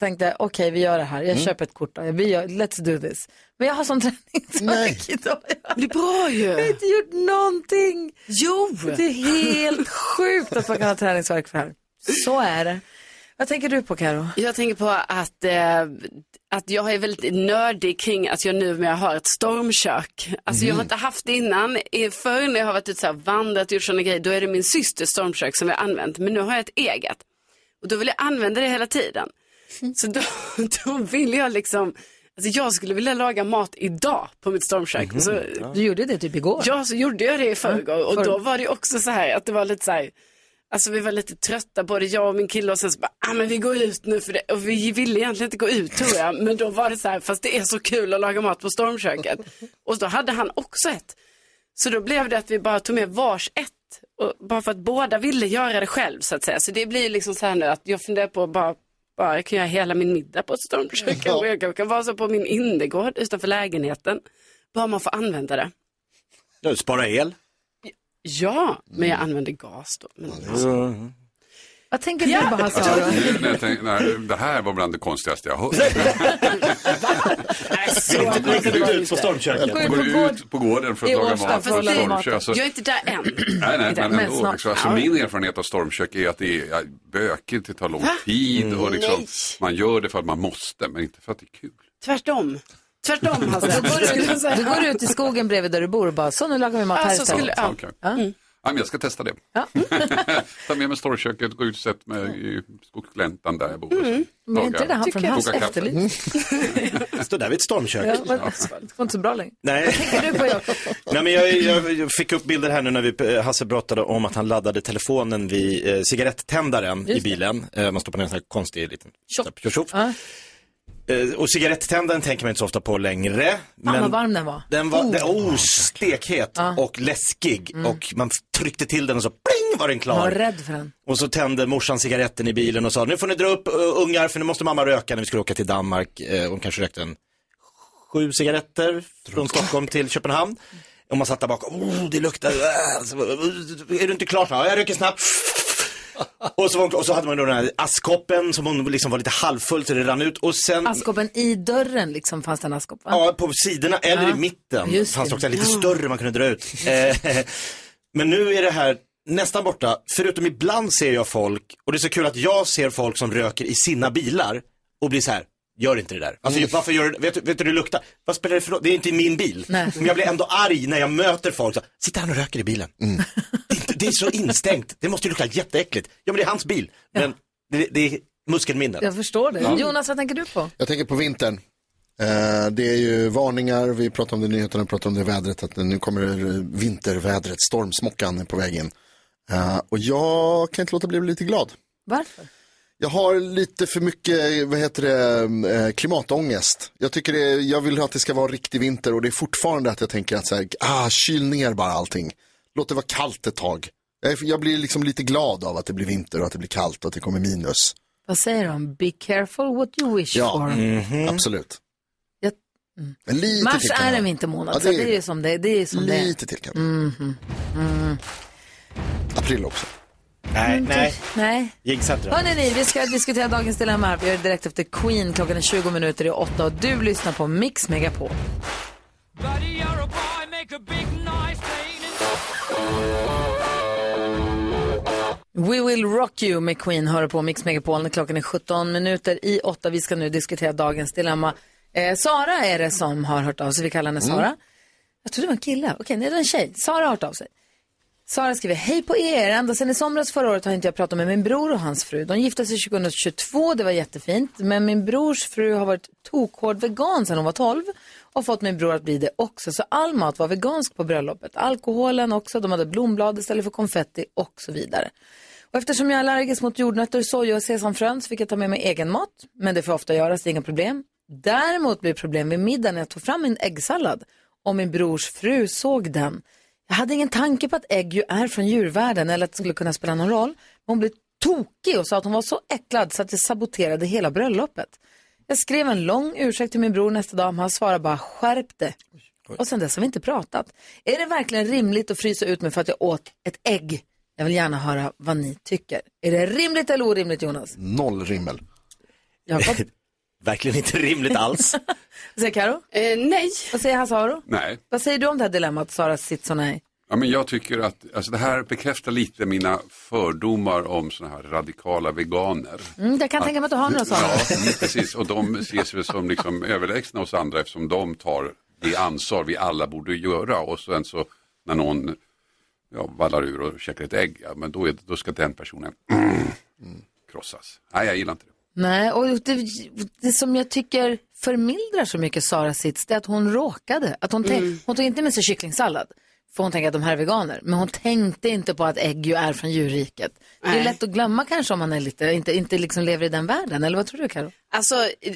tänkte okej vi gör det här, jag Mm. köper ett kort, då. vi gör, let's do this. Men jag har sån [LAUGHS] träning som Nej. idag. Det är bra ju. Jag har inte gjort någonting. Jo. Det är [LAUGHS] helt sjukt att man kan ha träningsvärk för det här. Så är det. Vad tänker du på Karo? Jag tänker på att, eh, att jag är väldigt nördig kring att jag numera har ett stormkök. Alltså jag har Mhm. inte haft det innan. I- Förr när jag har varit ute och vandrat och gjort sådana grejer, då är det min systers stormkök som jag har använt. Men nu har jag ett eget. Och då vill jag använda det hela tiden. Mm. Så då, [LAUGHS] då vill jag liksom, alltså jag skulle vilja laga mat idag på mitt stormkök. Mhm, Så, ja. Du gjorde det typ igår. Mm. Ja, så gjorde jag det i förrgår. Och förr- då var det också så här att det var lite så här, Alltså vi var lite trötta, både jag och min kille och sen så bara, ah, men vi går ut nu för det. Och vi ville egentligen inte gå ut tror jag, men då var det så här, fast det är så kul att laga mat på stormköket. Och då hade han också ett. Så då blev det att vi bara tog med vars ett, och bara för att båda ville göra det själv så att säga. Så det blir ju liksom så här nu att jag funderar på att bara, bara jag kan göra hela min middag på ett stormkök. Ja. Och jag kan- kan vara så på min innergård utanför lägenheten. Bara man får använda det. Ja, spara el. Ja, men jag använder gas då. Men, alltså. Vad tänker du på Hasse Aro? Nu Alltså, när jag tänkte, nej, det här var bland det konstigaste jag [LAUGHS] hört. Går ut på stormköket. Går ut på gården för att I laga Årsta mat för för att laga stormkök. Alltså, Jag är inte där än. nej, nej, men Men ändå. snart. Liksom, alltså, Ja. min erfarenhet av stormkök är att det är ja, bökigt, det tar lång Va? tid och Mm. liksom, Nej. man gör det för att man måste, men inte för att det är kul. Tvärtom. [LAUGHS] Tvärtom Alltså, Hasse. Alltså, Då går [LAUGHS] du, du går ut i skogen bredvid där du bor och bara, så nu lagar vi mat här Alltså, istället. skulle- ja. Okej. Ja. Ja, men jag ska testa det. [LAUGHS] Ta med mig stormköket, gå ut och sätt mig i skogsgläntan där jag bor. Mm. Men är inte det han från hans Koka kaffe. [LAUGHS] efterlyst? Stå där vid ett stormkök. Ja, men- Det var inte så bra längre. Nej. Tänker du på Jakob? [LAUGHS] Nej, men jag, jag jag fick upp bilder här nu när vi, eh, Hasse berättade om att han laddade telefonen vid eh, cigarettändaren i Just det. bilen. Eh, man stoppar ner en sån här konstig liten Tjopp. tjoff. Ja. Eh, och cigarettändaren tänker man inte så ofta på längre. Fan vad Men varm den var. den var Oh. Ah. den- oh, stekhet och läskig och man tryckte till den och så pling var den Jag var klar. rädd för den. Och så tände morsan cigaretten i bilen och sa nu får ni dra upp eh, ungar för nu måste mamma röka när vi skulle åka till Danmark. Eh, hon kanske rökte en sju cigaretter från Stockholm till Köpenhamn. Och man satt där bak, oh det luktar, äh, Alltså, så, äh, är du inte klar? Ja, jag röker snabbt. Och så, var hon, och så hade man då den här askkoppen som hon liksom var lite halvfull så det rann ut och sen Askkoppen i dörren liksom fanns det en askkopp va? Ja, på sidorna eller Ja. i mitten. Just fanns det. det också en lite Ja. större man kunde dra [LAUGHS] ut. Eh, Men nu är det här nästan borta, förutom ibland ser jag folk, och det är så kul att jag ser folk som röker i sina bilar och blir så här, gör inte det där. Mm. Alltså, varför gör du, vet, du- vet du hur det luktar? Vad spelar det för roll? Det är inte min bil. Nej. Men jag blir ändå arg när jag möter folk. Så, Sitter han och röker i bilen? Mm. Det, är inte, det är så instängt. Det måste ju lukta jätteäckligt. Ja, men det är hans bil. Men det, det är muskelminnen. Jag förstår det. Ja. Jonas, vad tänker du på? Jag tänker på vintern. Eh, Det är ju varningar, vi pratar om det i nyheterna, vi pratar om det i vädret, att nu kommer vintervädret, stormsmockan är på väg in. Eh, Och jag kan inte låta bli att bli lite glad. Varför? Jag har lite för mycket vad heter det, eh, klimatångest. Jag, tycker det, är- jag vill att det ska vara riktig vinter och det är fortfarande att jag tänker att så här, ah, kyl ner bara allting. Låt det vara kallt ett tag. Jag, är- jag blir liksom lite glad av att det blir vinter och att det blir kallt och att det kommer minus. Vad säger de? Be careful what you wish Ja, for. absolut. Jag- Mm. Men lite Mars till kan är jag- en vintermånad, Ja, så det är ju som det är. Det är ju som det är. Mhm, Lite till kan April också. Nej, nej. Nej. Jinxa inte det. Hörrni, ni, vi ska diskutera dagens dilemma här. Vi gör det direkt efter Queen. Klockan är 20 minuter i åtta och du lyssnar på Mix Megapol. We will rock you med Queen hör på Mix Megapol. Klockan är 17 minuter i åtta. Vi ska nu diskutera dagens dilemma. Eh, Sara är det som har hört av sig. Vi kallar henne Mm. Sara. Jag trodde det var en kille. Okej, nej, det var en tjej. Sara har hört av sig. Sara skriver, hej på er. Ända sedan i somras förra året har inte jag pratat med min bror och hans fru. De gifte sig 2022, det var jättefint. Men min brors fru har varit tokhård vegan sedan hon var 12 och fått min bror att bli det också. Så all mat var vegansk på bröllopet. Alkoholen också, de hade blomblad istället för konfetti och så vidare. Och eftersom jag är allergisk mot jordnötter, soja och sesamfrön så fick jag ta med mig egen mat. Men det får jag ofta göra, så det är inga problem. Däremot blev problem vid middagen när jag tog fram min äggsallad och min brors fru såg den. Jag hade ingen tanke på att ägg ju är från djurvärlden eller att det skulle kunna spela någon roll. Men hon blev tokig och sa att hon var så äcklad så att det saboterade hela bröllopet. Jag skrev en lång ursäkt till min bror nästa dag, men han svarade bara skärp det. Och sen dess har vi inte pratat. Är det verkligen rimligt att frysa ut mig för att jag åt ett ägg? Jag vill gärna höra vad ni tycker. Är det rimligt eller orimligt Jonas? Noll rimmel. [LAUGHS] Verkligen inte rimligt alls. Vad säger Karo? nej. Vad säger Hasse Aro? Nej. Vad säger du om det här dilemmat, Sara Sitson? Nej. Ja, men jag tycker att alltså, det här bekräftar lite mina fördomar om sådana här radikala veganer. Mm, jag kan tänka mig att du har några sådana. Ja, mm, precis. Och de ses väl som liksom överlägsna oss andra eftersom de tar det ansvar vi alla borde göra. Och sen så när någon ja, vallar ur och käkar ett ägg, ja, men då, är, då ska den personen [CLEARS THROAT] krossas. Nej, jag gillar inte det. Nej, och det, det som jag tycker förmildrar så mycket Sara Sits, det är att hon råkade. Att hon, tänk, hon tog inte med sig kycklingsallad, för hon tänker att de här är veganer. Men hon tänkte inte på att ägg ju är från djurriket. Det är Nej. lätt att glömma kanske om man är lite, inte, inte liksom lever i den världen, eller vad tror du Karo? Alltså,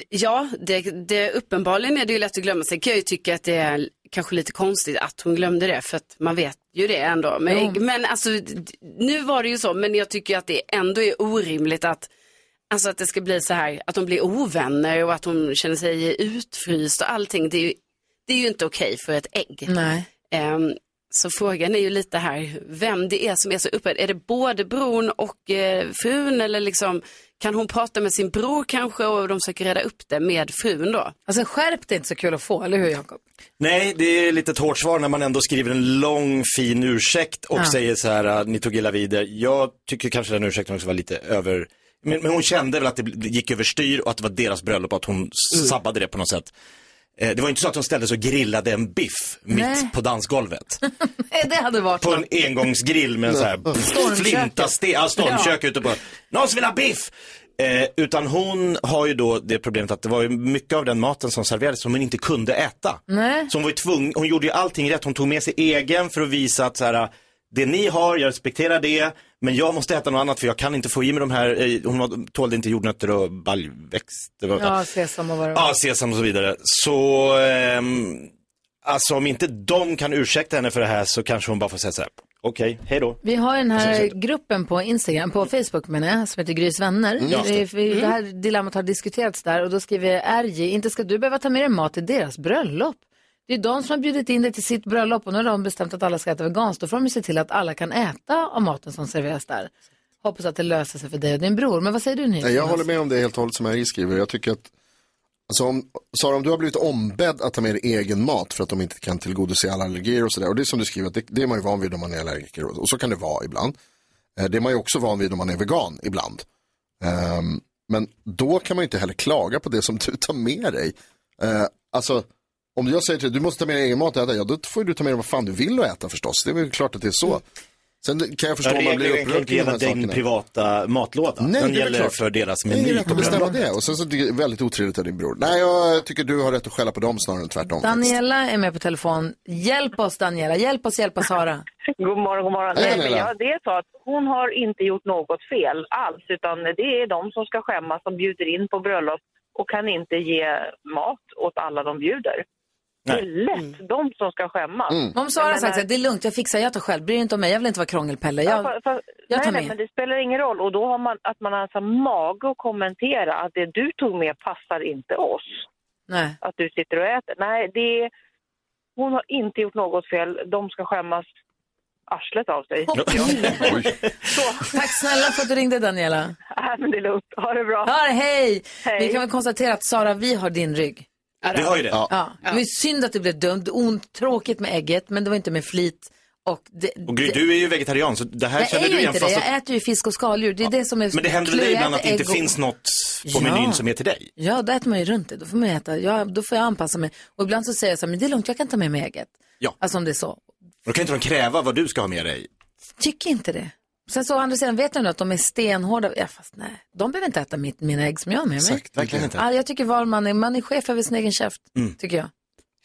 ja, det, det, uppenbarligen är det ju lätt att glömma. Sen kan jag ju tycka att det är kanske lite konstigt att hon glömde det, för att man vet ju det ändå. Men, Jo. men alltså, d- nu var det ju så, men jag tycker ju att det ändå är orimligt att, alltså att det ska bli så här, att de blir ovänner och att hon känner sig utfryst och allting. Det är ju, det är ju inte okej för ett ägg. Nej. Ehm, så frågan är ju lite här vem det är som är så upprörd. Är det både bron och eh, frun eller liksom kan hon prata med sin bror kanske och de försöker reda upp det med frun då? Alltså skärp det är inte så kul att få, eller hur Jakob? Nej, det är lite ett hårt svar när man ändå skriver en lång fin ursäkt och Ja. säger så här, äh, ni tog illa vid er. Jag tycker kanske den ursäkten också var lite över, men, men hon kände väl att det bl- det gick överstyr och att det var deras bröllop och att hon Mm. sabbade det på något sätt. Eh, Det var ju inte så att hon ställde sig och grillade en biff mitt Nej. på dansgolvet. [LAUGHS] Nej, det hade varit På en engångsgrill med en så här [LAUGHS] Stormköket. flintaste, ja, stormkök ute på, någon som vill ha biff! Eh, utan hon har ju då det problemet att det var ju mycket av den maten som serverades som hon inte kunde äta. Nej. Så hon var ju tvungen, hon gjorde ju allting rätt. Hon tog med sig egen för att visa att så här, det ni har, jag respekterar det, men jag måste äta något annat för jag kan inte få i mig de här, eh, hon var- tålde inte jordnötter och baljväxter. vad- Ja, sesam och vad det var. Ja, sesam och så vidare. Så, ehm, alltså om inte de kan ursäkta henne för det här så kanske hon bara får säga så här, okej, hej då. Vi har den Och här sen så- gruppen på Instagram, på Facebook menar jag, som heter Grys vänner. Mm, just det. Det, vi- det här dilemmat har diskuterats där och då skriver RJ, inte ska du behöva ta med dig mat till deras bröllop. Det är de som har bjudit in dig till sitt bröllop och nu har de bestämt att alla ska äta veganskt. Då får de ju se till att alla kan äta av maten som serveras där. Hoppas att det löser sig för dig och din bror. Men vad säger du nu? Nej, jag håller med om det helt och hållet som Harry skriver. Jag tycker att, alltså om, Sara, om du har blivit ombedd att ta med dig egen mat för att de inte kan tillgodose alla allergier och sådär. Och det är som du skriver, att det, det är man ju van vid om man är allergiker. Och och så kan det vara ibland. Eh, Det är man ju också van vid om man är vegan ibland. Ehm, Men då kan man ju inte heller klaga på det som du tar med dig. Eh, alltså, om jag säger till dig, du måste ta med dig egen mat och äta, ja då får ju du ta med dig vad fan du vill och äta förstås. Det är väl klart att det är så. Sen kan jag förstå om man blir Regeln kan upprörd inte kring de gälla här din sakerna. privata äh, matlåda. Nej, Den det är väl gäller klart. för deras Det är ingen meny. rätt att bestämma det. Och sen så tycker jag det är väldigt otrevligt av din bror. Nej, jag tycker du har rätt att skälla på dem snarare än tvärtom. Daniela är med på telefon. Hjälp oss Daniela, hjälp oss hjälpa Sara. God morgon, god morgon. Hej, Nej, men Daniela. jag, det är så att hon har inte gjort något fel alls, utan det är de som ska skämmas som bjuder in på bröllop och kan inte ge mat åt alla de bjuder. Det är lätt de som ska skämmas. Mm. Om Jag Sara Mm. har menar- sagt att det är lugnt, jag fixar, jag tar själv. Bryr dig inte om mig, jag vill inte vara krångelpelle. Ja, Jag, fa- fa- jag tar nej, med. nej, men det spelar ingen roll. Och då har man att man alltså mage att kommentera att det du tog med passar inte oss. Nej. Att du sitter och äter. Nej, det är, hon har inte gjort något fel. De ska skämmas arslet av sig. [LAUGHS] Tack snälla för att du ringde Daniela. Nej, men det är lugnt. Ha det bra. Ja, hej. Vi kan väl konstatera att Sara, vi har din rygg. Vi har ju det. Ja. Ja. Det var ju synd att du blev dömd. Ont, tråkigt med ägget, men det var inte med flit. Och det, Och Gry, du är ju vegetarian så det här jag känner är du ju igen inte det. fast Jag äter ju fisk och skaldjur. Det är det som är att... Men det händer väl dig klurigt. ibland att det inte Ägg och- finns något på Ja. menyn som är till dig? Ja, då äter man ju runt det. Då får man ju äta. Ja, då får jag anpassa mig. Och ibland så säger jag så här, men det är lugnt, jag kan ta med mig ägget. Ja. Alltså om det är så. Då kan inte de kräva vad du ska ha med dig. Tycker inte det. Sen så å andra sidan vet jag nu att de är stenhårda. Ja, fast nej, de behöver inte äta mitt, mina ägg som jag har med Ah, mig. Exakt, verkligen inte. Ja, jag tycker var man är, man är chef över sin egen käft, Mm. tycker jag.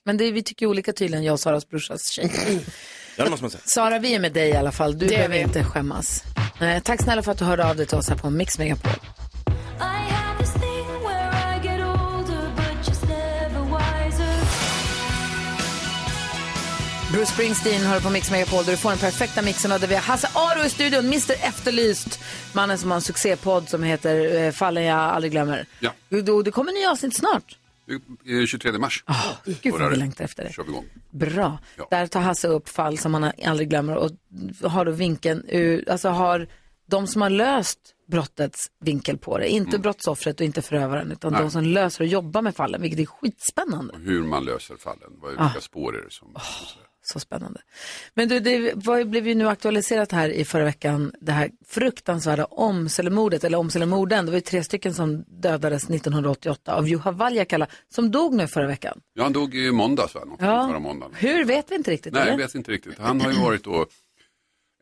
Men det, vi tycker ju olika tydligen, jag och Saras brorsas tjej. Ja, det måste man säga. Sara, vi är med dig i alla fall. Du Det är behöver vi. inte skämmas. Nej, tack snälla för att du hörde av dig till oss här på Mix Megapol. I have this thing where I get older, but just never wiser. Bruce Springsteen hör på Mix Megapol där du får den perfekta mixen och där vi har Hasse Aro i studion, Mr Efterlyst, mannen som har en succépodd som heter eh, Fallen jag aldrig glömmer. Ja. Du, du, det kommer nya avsnitt snart. Eh, 23 mars. Oh, gud vad vi längtar efter det. kör vi igång. Bra. Där tar Hasse upp fall som han aldrig glömmer och har då vinkeln ur, alltså har de som har löst brottets vinkel på det. Inte brottsoffret och inte förövaren utan Mm. Nej. Mm. de som löser och jobbar med fallen, vilket är skitspännande. Och hur man löser fallen. Vad, vilka Ah. spår är det som... Så spännande. Men du, det var, blev ju nu aktualiserat här i förra veckan, det här fruktansvärda Åmselemordet, eller Åmselemorden. Det var ju tre stycken som dödades 1988 av Juha Valjakalla, som dog nu förra veckan. Ja, han dog i måndags, va? Någonting Ja. Förra måndagen. Hur vet vi inte riktigt. Nej, eller? jag vet inte riktigt. Han har ju varit då,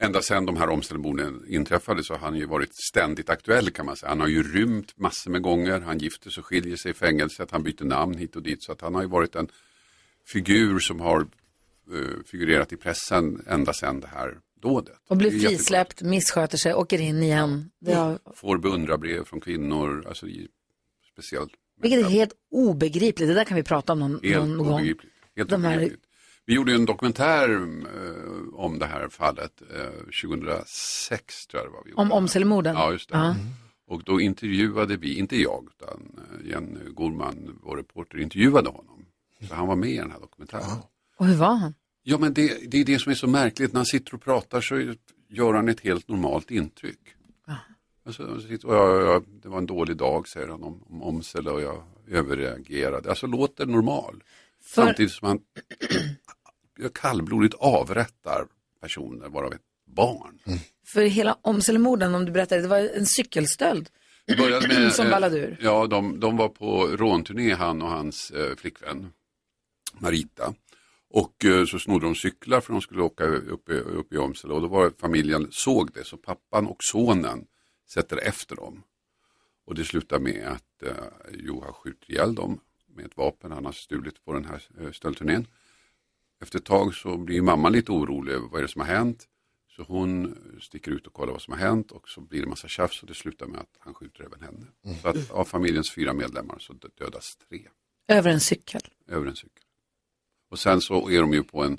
ända sedan de här omställningarna inträffade så har han ju varit ständigt aktuell kan man säga. Han har ju rymt massor med gånger, han gifter sig, skiljer sig i fängelset, han byter namn hit och dit. Så att han har ju varit en figur som har eh, figurerat i pressen ända sedan det här dådet. Det Och blir är jättegott. frisläppt, missköter sig, åker in igen. Det har, Får beundrarbrev från kvinnor, alltså i- speciellt. vilket är helt obegripligt. Det där kan vi prata om någon, Helt någon gång. obegripligt. Helt De här, obegripligt. Vi gjorde ju en dokumentär eh, om det här fallet eh, 2006 tror jag det var. Vi gjorde. om Åmselemorden. Ja, just det. Mm. Ja. Och då intervjuade vi, inte jag, utan eh, Jenny Gorman, vår reporter, intervjuade honom. Så han var med i den här dokumentären. Och hur var han? Ja, men det, det är det som är så märkligt. När han sitter och pratar så gör han ett helt normalt intryck. Alltså, han sitter och jag, jag, det var en dålig dag, säger han om, om Åmsele och jag överreagerade. Alltså låter normal. För- Samtidigt som han [CLEARS THROAT] kallblodigt avrättar personer, varav ett barn. För hela Åmselemorden, om du berättar, det var en cykelstöld Det började med, som eh, ballade ur. Ja, de, de var på rånturné, han och hans eh, flickvän Marita. Och eh, så snodde de cyklar för de skulle åka upp i, upp i Åmsele och då var familjen såg det så pappan och sonen sätter efter dem. Och det slutar med att eh, Johan skjuter ihjäl dem med ett vapen han har stulit på den här eh, stöldturnén. Efter ett tag så blir mamman lite orolig över vad är det som har hänt. Så hon sticker ut och kollar vad som har hänt och så blir det massa tjafs och det slutar med att han skjuter även henne. Så att av familjens fyra medlemmar så dö- dödas tre Över en cykel. över en cykel. Och sen så är de ju på en,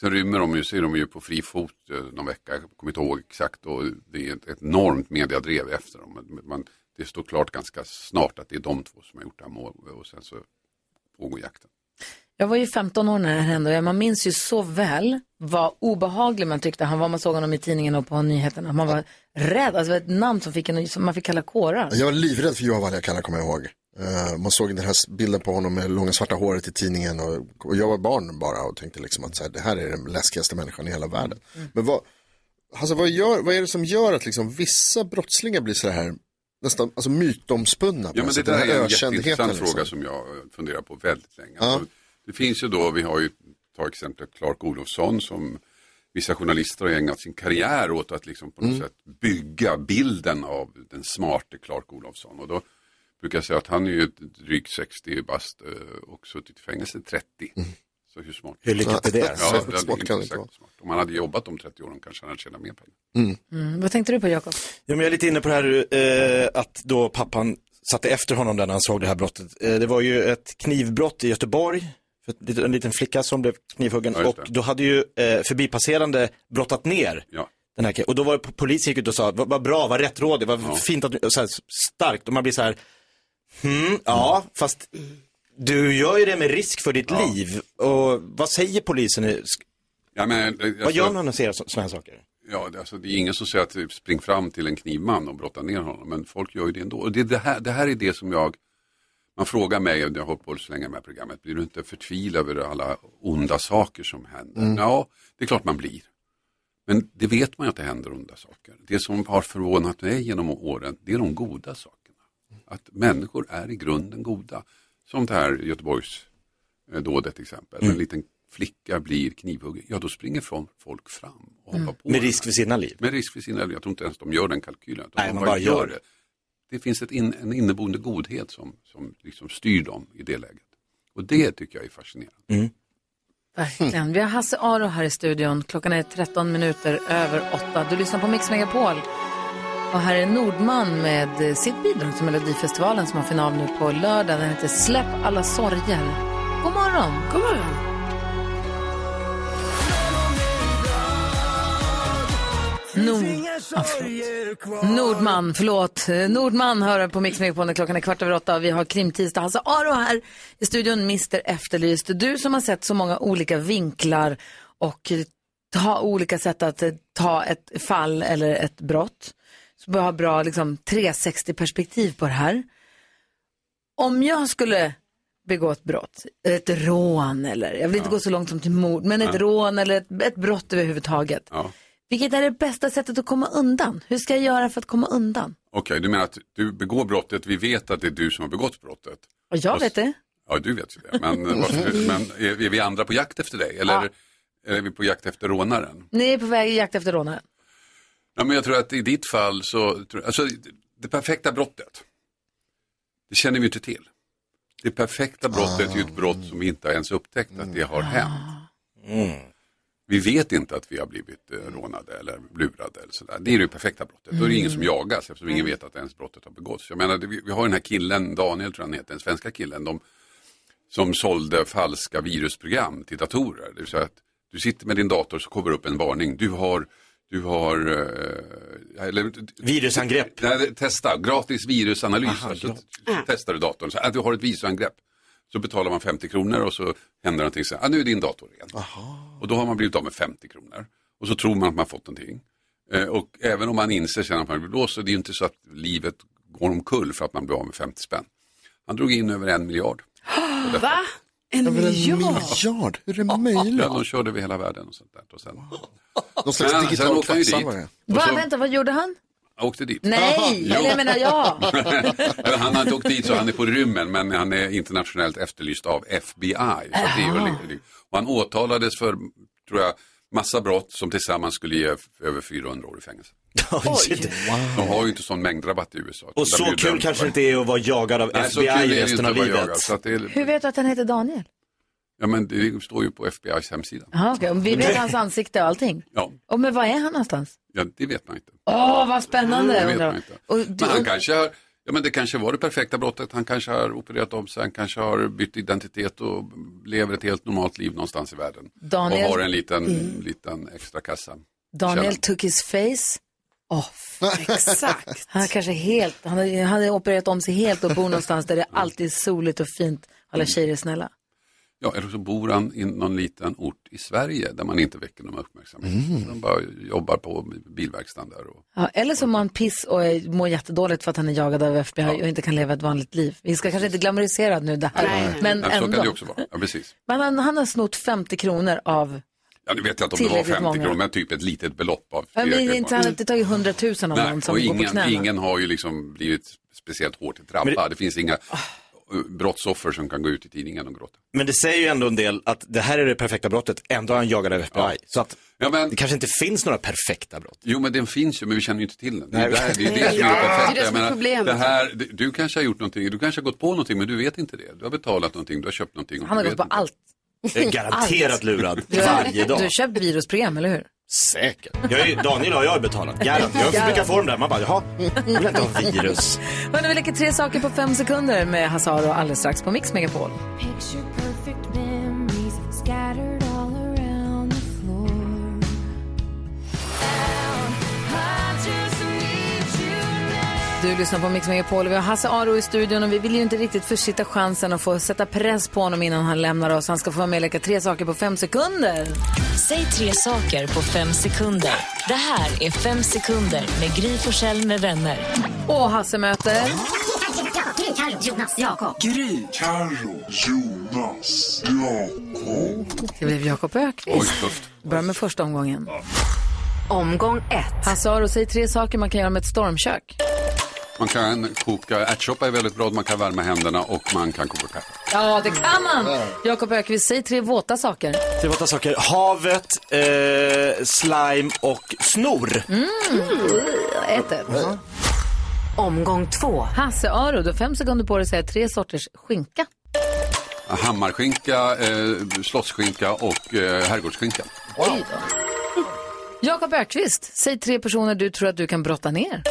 sen rymmer de ju, så är de ju på fri fot eh, någon vecka, jag kommer inte ihåg exakt och det är ett ett enormt mediadrev efter dem. Men Man, det står klart ganska snart att det är de två som har gjort det här målet och sen så pågår jakten. Jag var ju 15 år när det här hände och man minns ju så väl vad obehaglig man tyckte han var. Man såg honom i tidningen och på nyheterna. Man var rädd. Alltså det var ett namn som, fick en, som man fick kalla kårar. Jag var livrädd för Johan Valjakalla kommer jag ihåg. Eh, man såg den här s- bilden på honom med långa svarta håret i tidningen och, och jag var barn bara och tänkte liksom att så här, det här är den läskigaste människan i hela världen. Mm. Men vad, alltså, vad, gör, vad är det som gör att liksom vissa brottslingar blir så här nästan alltså, mytomspunna. på Ja, men något det sätt, där Alltså, den här är en ökändheten, jätteintressant liksom. fråga som jag eh, funderar på väldigt länge. Ja. Alltså, det finns ju då, vi har ju, ta exemplet Clark Olofsson som vissa journalister har ägnat sin karriär åt att liksom på något Mm. sätt bygga bilden av den smarte Clark Olofsson. Och då brukar jag säga att han är ju ett drygt 60 bast eh, och suttit i fängelse 30. Så hur smart? Hur lyckat är det? Ja, Så det är smart kan inte det inte exakt vara. smart. Om han hade jobbat de 30 åren kanske han hade tjänat mer pengar. Mm. Vad tänkte du på Jakob? Ja, men jag är lite inne på det här eh, att då pappan satte efter honom där när han såg det här brottet. Eh, det var ju ett knivbrott i Göteborg. För ett lit- en liten flicka som blev knivhuggen Ja, just och det. då hade ju eh, förbipasserande brottat ner Ja. den här killen. Och då var po- polisen gick ut och sa, vad vad bra, vad rättrådig, vad fint att du, och så här, starkt. Och man blir så här, hmm, ja, fast du gör ju det med risk för ditt liv. Och vad säger polisen? i- sk- Ja, men, eh, vad alltså- gör man när ser sådana här saker? Ja, det, alltså, det är ingen som säger att typ, spring fram till en knivman och brotta ner honom, men folk gör ju det ändå. Och det, det, här, det här är det som jag, man frågar mig, och jag har hållit på så länge med programmet, blir du inte förtvivlad över alla onda saker som händer? Mm. Ja, det är klart man blir. Men det vet man ju att det händer onda saker. Det som har förvånat mig genom åren, det är de goda sakerna. Att människor är i grunden goda. Som det här Göteborgs eh, dådet till exempel. En liten flicka blir knivhuggen, ja då springer från folk fram. Och hoppar Mm. på Med den. risk för sina liv? Med risk för sina liv, jag tror inte ens de gör den kalkylen. utan Nej, de man bara gör det. Det finns ett in, en inneboende godhet som, som liksom styr dem i det läget. Och det tycker jag är fascinerande. Verkligen. Vi har Hasse Aro här i studion. Klockan är 13 minuter över 8. Du lyssnar på Mix Megapol. Och här är Nordman med sitt bidrag till Melodifestivalen som har final nu på lördag. Den heter Släpp alla sorger. God morgon! God morgon! Nord... Ah, förlåt. Nordman, förlåt. Eh, Nordman hör på Mix Megapol när klockan är kvart över åtta. och Vi har krimtisdag. Hasse Aro här i studion, Mr Efterlyst. Du som har sett så många olika vinklar och eh, ta olika sätt att eh, ta ett fall eller ett brott. Så vi har bra liksom, 360-perspektiv på det här. Om jag skulle begå ett brott, ett rån eller, jag vill inte Ja. gå så långt som till mord, men ett Nej. rån eller ett, ett brott överhuvudtaget. Ja. Vilket är det bästa sättet att komma undan? Hur ska jag göra för att komma undan? Okej, du menar att du begår brottet, vi vet att det är du som har begått brottet. Och jag Fast- vet det. Ja, du vet ju det. Men, eh, [LAUGHS] varför, men är, är vi andra på jakt efter dig? Eller är vi på jakt efter rånaren? Ni är på väg i jakt efter rånaren. Ja, men jag tror att i ditt fall så, tror- alltså det- det perfekta brottet, det känner vi ju inte till. Det perfekta brottet är ju ett brott som vi inte har ens upptäckt att det har hänt. Vi vet inte att vi har blivit eh, rånade eller lurade eller sådär. Det är det perfekta brottet. Då är det ingen som jagas eftersom ingen vet att ens brottet har begåtts. Jag menar, det- vi vi har den här killen, Daniel tror jag han heter, den svenska killen, de, som sålde falska virusprogram till datorer. Det vill säga att du sitter med din dator så kommer upp en varning. Du har, du har... eh, eller, Virusangrepp. Nej, testa, gratis virusanalys. Aha, så testar du datorn. Så, att du har ett virusangrepp. Så betalar man 50 kronor och så händer någonting. Så, här, ah, nu är din dator igen. Och då har man blivit av med 50 kronor. Och så tror man att man fått någonting. Eh, Och även om man inser sen att man blir blåst så är det ju inte så att livet går omkull för att man blir av med 50 spänn. Han drog in över en miljard. [GASPS] Va? En miljard? miljard? Hur är det möjligt? Ja, de körde över hela världen och sånt där. Och sen, Någon slags Men digital sen åkte han ju dit. kvacksalvare. Och Va, så vänta, vad gjorde han? åkte dit. Nej, Jo. eller jag menar [LAUGHS] jag. han har inte åkt dit så han är på rymmen men han är internationellt efterlyst av FBI. Så att det är väl, och han åtalades för, tror jag, massa brott som tillsammans skulle ge f- över 400 år i fängelse. De har ju inte sån mängdrabatt i USA. [LAUGHS] Och så kul kanske det inte är att vara jagad av Nej, så kul är FBI det ju resten inte av att vara livet. jagad, så att det är- Hur vet du att han heter Daniel? Ja men det står ju på FBIs hemsida. Aha, okay. Vi vet hans ansikte och allting. Ja, Och men var är han någonstans? ja det vet man inte. Åh, vad spännande! Det vet undrar man jag. inte. Och Men han du, kanske har, ja men det kanske var det perfekta brottet, han kanske har opererat om sig, han kanske har bytt identitet och lever ett helt normalt liv någonstans i världen. Daniel- Och har en liten, Mm. liten extra kassa. Daniel took his face off. [LAUGHS] Exakt. Han är kanske helt, han har, han har opererat om sig helt och bor någonstans där det alltid är soligt och fint. Alla tjejer är snälla. Ja, eller så bor han i någon liten ort i Sverige där man inte väcker någon uppmärksamhet. Så han bara jobbar på bilverkstaden där. Och... Ja, eller så mår han piss och är- mår jättedåligt för att han är jagad av FBI och inte kan leva ett vanligt liv. Vi ska kanske inte glamorisera nu det här, men så kan ändå. det också vara. Ja, precis. Men han, han har snott 50 kronor av Ja, nu vet jag inte om det var Tillräckligt 50 många. kronor, men typ ett litet belopp av Men fyra vi kronor. inte hade inte tagit hundratusen om någon som och går på ingen, knäna. ingen har ju liksom blivit speciellt hårt drabbad. Det... finns inga eh, brottsoffer som kan gå ut i tidningen och gråta. Men det säger ju ändå en del att det här är det perfekta brottet, ändå är han jagad av FBI. Så att det kanske inte finns några perfekta brott. Jo, men den finns ju, men vi känner ju inte till den. Det är, Nej. där, det, är det som Ja. är det perfekta. Det är det som är Jag menar, problemet. Det här, det- du kanske har gjort någonting, du kanske har gått på någonting, men du vet inte det. Du har betalat någonting, du har köpt någonting. och Han har du gått vet på allt. inte. Allt. lurad Du har- Du har köpt virusprogram, eller hur? Säkert. Jag är, Daniel och jag har [LAUGHS] betalat. Garanterat. Jag brukar få dem där. Man bara, jaha, jag vill inte ha [LAUGHS] virus. Hörrni, vi leker tre saker på fem sekunder med Hazaro alldeles strax på Mix Megapol. Picture perfect memories scattered all around the floor. I just need you now. Du lyssnar på Mix Megapol och vi har Hasse Aro i studion och vi vill ju inte riktigt försitta chansen att få sätta press på honom innan han lämnar oss. Han ska få vara med och leka tre saker på fem sekunder. Säg tre saker på fem sekunder. Det här är Fem sekunder med Gry Forssell med vänner. Och Hasse möter... Gry, Carro, Jonas, Jakob. Gry. Carro, Jonas, Jakob. Det blev Jakob Ökvist. Börjar med första omgången. Omgång ett. Hasse Aro, säg tre saker man kan göra med ett stormkök. Man kan koka, ärtsoppa är väldigt bra, man kan värma händerna och man kan koka kaffe. Ja, det kan man! Jakob Ökvist, säg tre våta saker. Tre våta saker. Havet, eh, slime och snor. Mm. Ett, ett. Omgång två. Hasse Aro, du har fem sekunder på dig att säga tre sorters skinka. Hammarskinka, eh, slottsskinka och eh, herrgårdsskinka. Oj då. Jakob Ökvist, säg tre personer du tror att du kan brotta ner.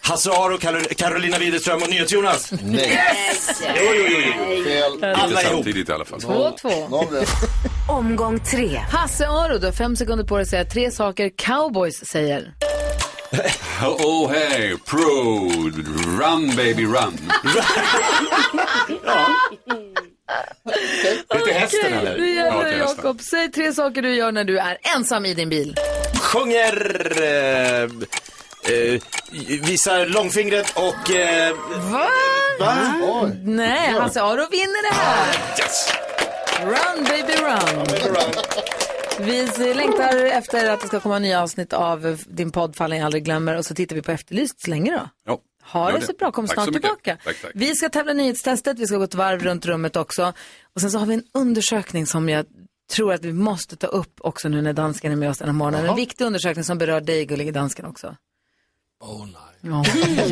Hasse Aro, Karol- Carolina Widerström och NyhetsJonas. Yes! Jo, jo, jo. jo. Fel. Alla Inte ihop. samtidigt i alla fall. Två, två. Omgång tre. Hasse Aro, du har fem sekunder på dig att säga tre saker cowboys säger. Oh hey, pro, run baby run. Det är till hästen eller? Ja, Nu gäller till det hästen. Jakob. Säg tre saker du gör när du är ensam i din bil. Sjunger, eh, eh, visar långfingret och... Eh, Va? Nej, Hasse Aro vinner det här. Yes! Run baby run. Vi längtar efter att det ska komma nya avsnitt av din podd Fallen jag aldrig glömmer och så tittar vi på Efterlyst så länge då. Ja, Ha gör det så bra, kom Tack snart så mycket. tillbaka. Tack, tack. Vi ska tävla i nyhetstestet, vi ska gå ett varv runt rummet också. Och sen så har vi en undersökning som jag tror att vi måste ta upp också nu när dansken är med oss den här morgonen. En viktig undersökning som berör dig, gullige dansken också. Åh oh, nej. Ja,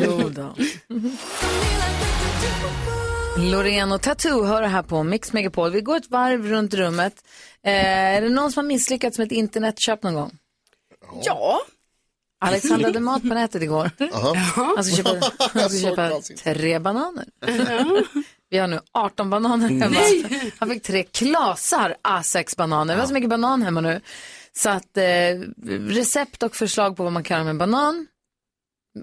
jo då. Loreen och Tattoo hör här på Mix Megapol. Vi går ett varv runt rummet. Eh, är det någon som har misslyckats med ett internetköp någon gång? Ja. [LAUGHS] Alex handlade mat på nätet igår. [LAUGHS] Jaha. Han ska köpa, [LAUGHS] han ska köpa tre bananer. [LAUGHS] Vi har nu 18 bananer hemma. Han fick tre klasar A6 bananer. Vi har så mycket banan hemma nu. Så att eh, recept och förslag på vad man kan göra med en banan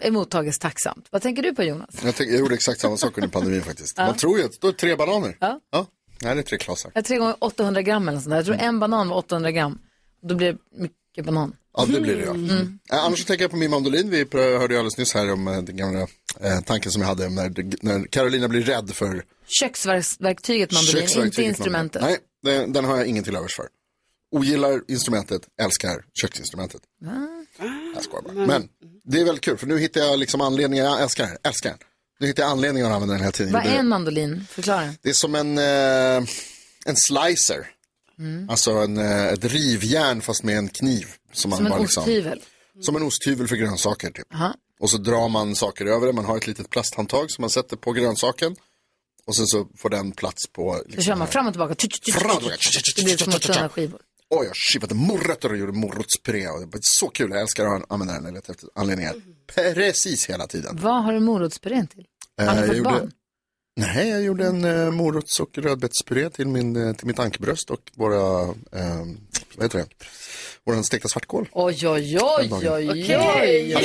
är mottages tacksamt. Vad tänker du på Jonas? Jag, tänkte, jag gjorde exakt samma sak under pandemin faktiskt. Ja. Man tror ju att då är det tre bananer. Ja. Nej, det är tre klasar. Jag tror tre gånger 800 gram eller sånt där. Jag Mm. tror en banan var 800 gram. Då blir det mycket banan. Ja, det blir det ja. Mm. Eh, annars så tänker jag på min mandolin. Vi pr- hörde ju alldeles nyss här om eh, den gamla eh, tanken som jag hade om när, när Carolina blir rädd för Köksverktyget mandolin, inte köksverktyget. instrumentet. Nej, den, den har jag ingen till övers för. Ogillar instrumentet, älskar köksinstrumentet. Va? Jag skojar bara. Men det är väldigt kul för nu hittar jag liksom anledningar, jag älskar den, älskar den. Nu hittar jag anledningar att använda den hela tiden. Vad Det- är en mandolin? Förklara. Det är som en, eh, en slicer. Mm. Alltså en, eh, ett rivjärn fast med en kniv. Som, man Som en bara liksom, osthyvel. Som en osthyvel för grönsaker typ. Jaha. Och så drar man saker över det. Man har ett litet plasthandtag som man sätter på grönsaken. Och sen så får den plats på... liksom- Så kör man fram och tillbaka. Fram och tillbaka. Det blir som att sådana skivor. Oj, jag skivade morötter och gjorde morotspuré. Och det var Så kul, jag älskar att använda den. Jag letar efter anledningar. Precis hela tiden. Vad har du morotspurén till? Har Eh, du jag fått gjorde- barn? Nej, jag gjorde en eh, morots och rödbetspuré till, min, eh, till mitt ankebröst och våra, eh, vad heter det, våran stekta svartkål. Oj, oj, oj, oj, oj, oj, Okej.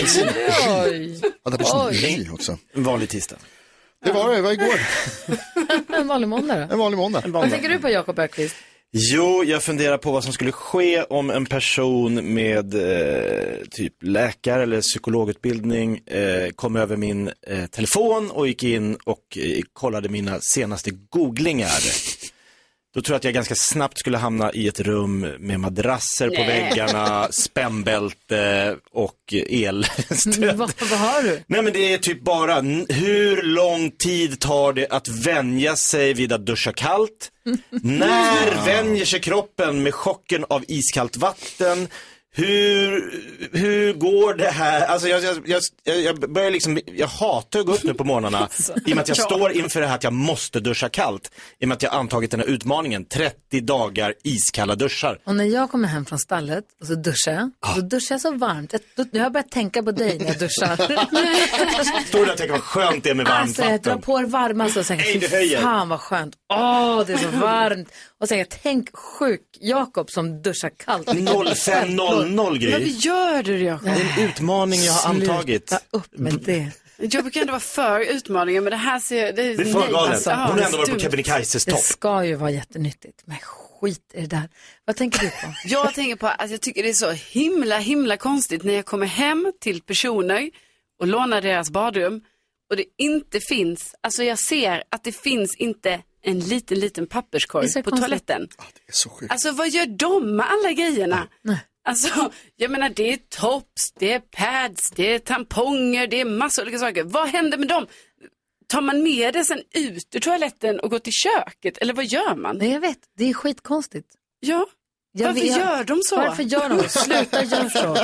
oj. Hade persilja också. En vanlig tisdag. Det var det, det var igår. [LAUGHS] En vanlig måndag då? En vanlig måndag. Vad tänker du på Jakob Ökvist? Jo, jag funderar på vad som skulle ske om en person med eh, typ läkare eller psykologutbildning eh, kom över min eh, telefon och gick in och eh, kollade mina senaste googlingar. Då tror jag att jag ganska snabbt skulle hamna i ett rum med madrasser på Nej. väggarna, spännbälte och [LAUGHS] el. [LAUGHS] Mm, vad, vad har du? Nej men det är typ bara, n- hur lång tid tar det att vänja sig vid att duscha [LAUGHS] kallt? När vänjer sig kroppen med chocken av iskallt vatten? Hur, hur går det här? Alltså jag, jag, jag, jag- jag börjar liksom, jag hatar att gå upp nu på [LAUGHS] morgnarna Alltså, i och med att jag Ja. står inför det här att jag måste duscha kallt. I och med att jag antagit den här utmaningen, 30 dagar iskalla duschar. Och när jag kommer hem från stallet och så duschar jag, Ah. så duschar jag så varmt. Jag, då, nu har jag börjat tänka på dig när jag [LAUGHS] duschar. Står där och tänker vad skönt det är med varmt alltså, jag drar vatten. på det varmaste och Nej, tänker, du fy höjer." fan vad skönt. Åh, det är så varmt. Och sen, tänk sjuk Jakob som duschar kallt. 05.00 Men vi Gry. Gör du det, Jakob? Det är en utmaning jag har Sluta antagit. Men det... Jag brukar ändå vara för utmaningen, men det här ser... Det, Det är för nej, galet. alltså, Hon ja, har ändå varit på dumt. Kebnekaises Det topp. ska ju vara jättenyttigt, men skit i det där. Vad tänker du på? Jag tänker på att jag tycker det är så himla, himla konstigt när jag kommer hem till personer och lånar deras badrum och det inte finns, alltså jag ser att det finns inte en liten, liten Det är så papperskorg på konstigt. toaletten. Det är så sjukt. Alltså vad gör de med alla grejerna? Alltså, jag menar det är tops, det är pads, det är tamponger, det är massa olika saker. Vad händer med dem? Tar man med det sen ut ur toaletten och går till köket eller vad gör man? Nej, jag vet, det är skitkonstigt. Ja. Jag Varför vet- gör de så? Varför gör de så? Sluta gör så.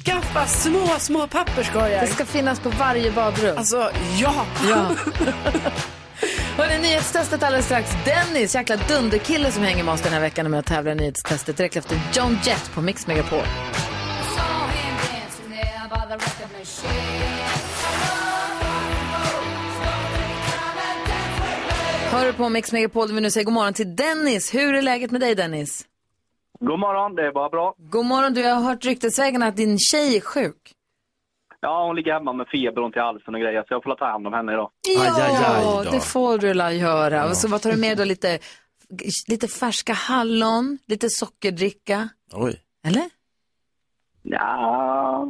Skaffa små, små papperskorgar. Det ska finnas på varje badrum. Alltså, ja. ja. [LAUGHS] Hörrni, nyhetstestet alldeles strax. Dennis, jäkla dunderkille som hänger med oss den här veckan med att tävla i nyhetstestet direkt efter John Jett på Mix Megapol. Hör du på Mix Megapol där vi nu säger god morgon till Dennis. Hur är läget med dig Dennis? God morgon, det är bara bra. God morgon, du jag har hört ryktesvägen att din tjej är sjuk. Ja, hon ligger hemma med feber och ont i halsen och grejer, så jag får ta hand om henne idag. Ja, det får du la göra. Och så vad tar du med då? Lite, lite färska hallon, lite sockerdricka, Oj. eller? Ja.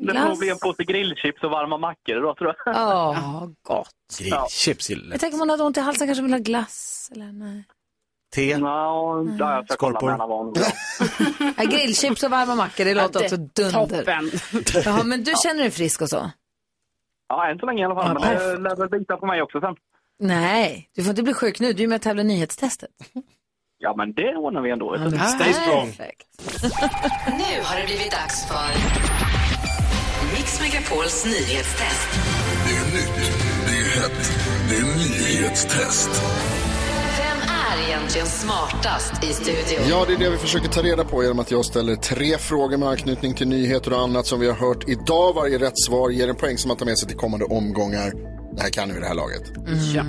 Det får nog bli en påse grillchips och varma mackor idag, tror jag. Ja, [LAUGHS] gott. Grillchips gillar Jag tänker om hon hade ont i halsen kanske vill ha glass eller nej. Te? Ja, jag ska kolla med henne vad hon vill ha. [LAUGHS] Ja, grillchips och varma mackor, det låter också dunder. [LAUGHS] Jaha, men du känner dig frisk och så? Ja, än så länge i alla fall. Men det lär väl bita på mig också sen. Nej, du får inte bli sjuk nu. Du är med och tävlar i nyhetstestet. Ja, men det ordnar vi ändå. men Stay strong. perfekt. Nu har det blivit dags för Mix Megapols nyhetstest. Det är nytt, det är hett, det är nyhetstest. Vem är egentligen smartast i studion? Ja, det är det vi försöker ta reda på genom att jag ställer tre frågor med anknytning till nyheter och annat som vi har hört idag. Varje rätt svar ger en poäng som man tar med sig till kommande omgångar. Det här kan du vid det här laget. Ja.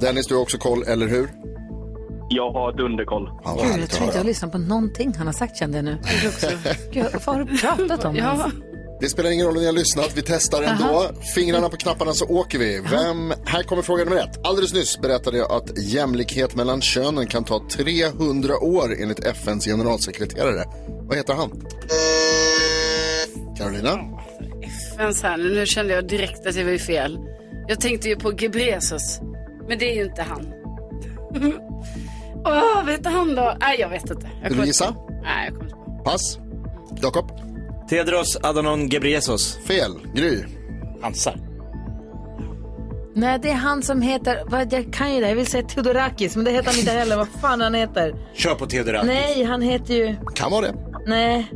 Dennis, du har också koll, eller hur? Jag har dunderkoll. Ja, vad Gud, jag härligt att tror inte jag höra. lyssnar på någonting han har sagt kände jag nu. Gud, vad har du pratat om? Ja. ens? Det spelar ingen roll om ni har lyssnat, vi testar ändå. Aha. Fingrarna på knapparna så åker vi. Vem? Här kommer fråga nummer ett. Alldeles nyss berättade jag att jämlikhet mellan könen kan ta 300 år enligt FNs generalsekreterare. Vad heter han? Carolina? Vänta här, nu kände jag direkt att jag var ju fel. Jag tänkte ju på Gebresus, men det är ju inte han. [LAUGHS] Åh, vad hette han då? Nej, jag vet inte. Jag Vill kommer- du gissa? Nej, jag kommer inte. Pass. Jakob? Tedros Adhanom Ghebreyesus. Fel. Gry. Hansar. Nej, det är han som heter, vad, jag kan ju det, jag vill säga Theodorakis, men det heter han inte heller. Vad fan han heter? Kör på Teodora. Nej, han heter ju, Kan vara det. nej.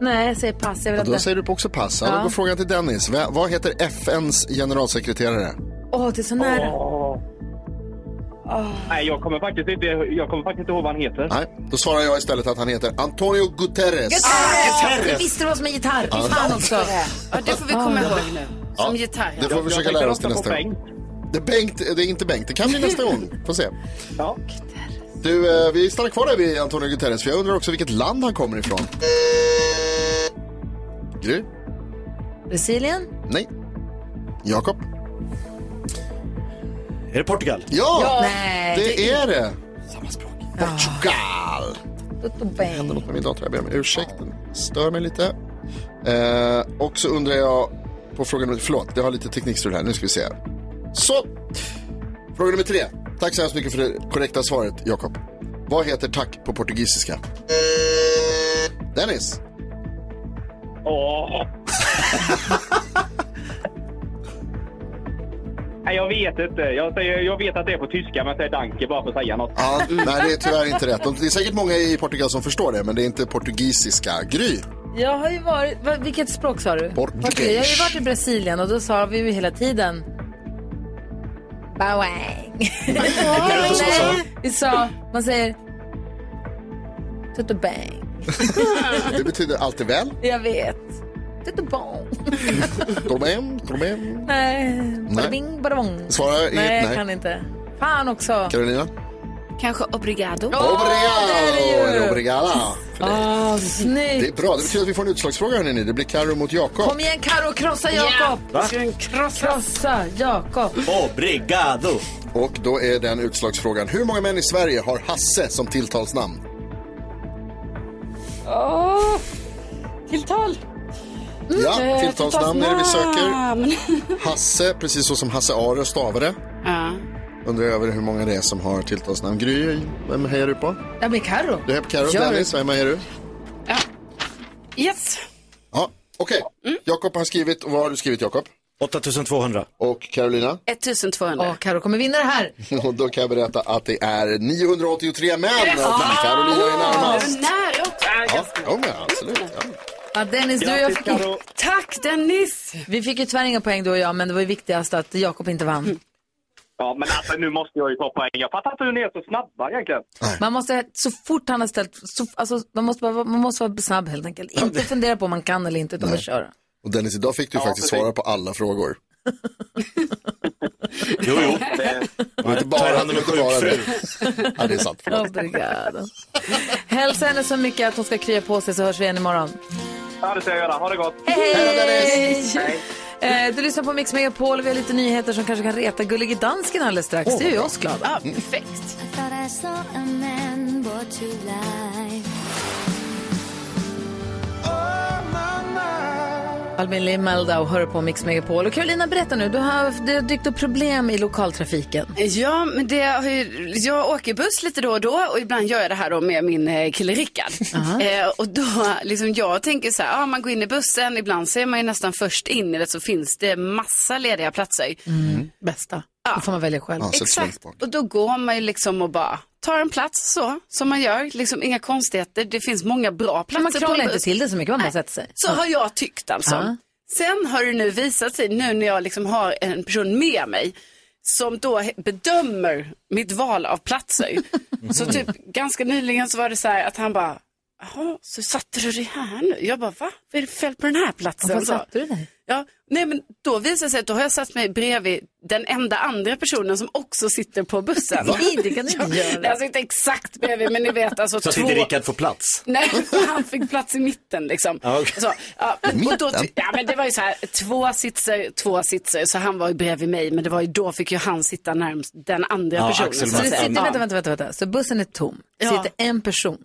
Nej, jag säger pass. Jag vill Och då inte. säger du på också pass. Ja. Ja. Då går frågan till Dennis. Va- Vad heter FNs generalsekreterare? Åh, det är så nära. Nej, jag kommer faktiskt inte, jag kommer faktiskt inte ihåg vad han heter. Nej, då svarar jag istället att han heter Antonio Guterres. Ah, Guterres! Jag visste det var som en gitarr. Ja. Fan också. Ja, det får vi komma ihåg nu. Som gitarren. Det får vi försöka lära oss till nästa gång. Det är, Bengt, det är inte Bengt, det kan bli nästa gång. Får se. Ja. Du, eh, vi stannar kvar där vid Antonio Guterres, för jag undrar också vilket land han kommer ifrån. Gry? Brasilien? Nej. Jakob? Är det Portugal? Ja, Ja. Nej, Eh, det, det är är- det. Samma språk. Portugal. Det händer något med min dator, jag ber om ursäkt. Den stör mig lite. Eh, och så undrar jag på fråga nummer... Förlåt, det har lite teknikstrul här. Nu ska vi se. Så! Fråga nummer tre. Tack så hemskt mycket för det korrekta svaret, Jakob. Vad heter tack på portugisiska? Dennis? [LAUGHS] Åh. Nej, jag vet inte. Jag, säger, jag vet att det är på tyska, men jag säger danke bara för att säga något. Ja, Mm. nej, det är tyvärr inte rätt. De- Det är säkert många i Portugal som förstår det, men det är inte portugisiska. Gry? Jag har ju varit, va, vilket språk sa du? Portugis. Portugis. Jag har ju varit i Brasilien och då sa vi ju hela tiden [LAUGHS] Bawang. Vi sa, man säger Tutto bang. Det betyder allt är väl. Jag vet. Tutto bong. Trobem, trobem. Nej, bada bing, bada bong. Svara inget, Nej, jag nej. kan inte. Fan också. Carolina? Kanske obrigado. Obrigado! Eller obrigada. Åh, Ah, snyggt. Det är bra. Det betyder att vi får en utslagsfråga, hörni. Det blir Carro mot Jakob. Kom igen Karo, krossa Jakob. Va? Krossa. krossa Jakob. Obrigado! Och då är den utslagsfrågan. Hur många män i Sverige har Hasse som tilltalsnamn? Åh, tilltal. Mm, Ja, Eh, tilltalsnamn är det vi söker. tilltalsnamn. Hasse, precis så som Hasse Aro stavade. Undrar över hur många det är som har tilltalsnamn. Gry, vem hejar du på? Ja, men Karo. Du hejar på Carro. Gör det. Dennis, vem hejar du? Yes. Ja, okej. Mm. Jakob har skrivit. Och vad har du skrivit, Jakob? 8200. Och Carolina? 1200. Ja, Karo kommer vinna det här. [LAUGHS] Och då kan jag berätta att det är 983 män. Yes! Och Carolina är närmast. Nära också. Ja, ja, men absolut. Ja. Ja, Dennis, du och jag fick... Grattis, Karo. Tack, Dennis! Vi fick ju tyvärr inga poäng du och jag, men det var ju viktigast att Jakob inte vann. Ja, men alltså nu måste jag ju ta poäng. Jag fattar inte hur ni är så snabba egentligen. Man måste, så fort han har ställt, så, alltså, man, måste bara, man måste vara snabb helt enkelt. Inte fundera på om man kan eller inte, utan bara köra. Och Dennis, idag fick du faktiskt svara på alla frågor. Jo, jo. Och inte bara, hand om en inte bara sjukfru. du. Ja, det är sant. [LAUGHS] Obrigado. Hälsa henne så mycket att hon ska krya på sig så hörs vi igen imorgon. Ja, det ska jag göra. Ha det gott. Hej! Eh, Du lyssnar på Mix Megapol och vi har lite nyheter som kanske kan reta gullige dansken alldeles strax. Åh, det är ju vad bra. oss glada. Mm. I thought I saw a man brought to life. Albin Lee Meldau hör på Mix Megapol. Och Carolina, berätta nu. Du har, det har dykt upp problem i lokaltrafiken. Ja, men det har ju, jag åker buss lite då och då och ibland gör jag det här då med min eh, kille Rickard. Eh, och då, liksom jag tänker så här, ja, man går in i bussen, ibland så är man ju nästan först in i det så finns det massa lediga platser. Mm. Bästa. Då får man välja själv. Exakt, och då går man ju liksom och bara tar en plats så, som man gör, liksom inga konstigheter, det finns många bra platser Men man på en krånglar inte buss. till det så mycket, man bara sätter sig. Så har jag tyckt alltså. Ja. Sen har det nu visat sig, nu när jag liksom har en person med mig, som då he- bedömer mitt val av [LAUGHS] platser. så typ ganska nyligen så var det så här att han bara, jaha, så satte du dig här nu? Jag bara, va? Vad är det för fel på den här platsen? Varför Så. satte du dig? Ja, nej men då visar det sig att då har jag satt mig bredvid den enda andra personen som också sitter på bussen. Va? Nej, det kan [LAUGHS] du inte Ja, göra. nej, Alltså inte exakt bredvid, men ni vet alltså Så att inte Rickard får plats. [LAUGHS] Nej, för han fick plats i mitten liksom. Ja, okej. Så, ja, men, och då, Mitten? ja, men det var ju så här, två sitser, två sitser, så han var ju bredvid mig, men det var ju då fick ju han sitta närmst den andra Ja, personen. Så att det säga. sitter, Ja. vänta, vänta, vänta, vänta. Så bussen är tom. Det Ja. sitter en person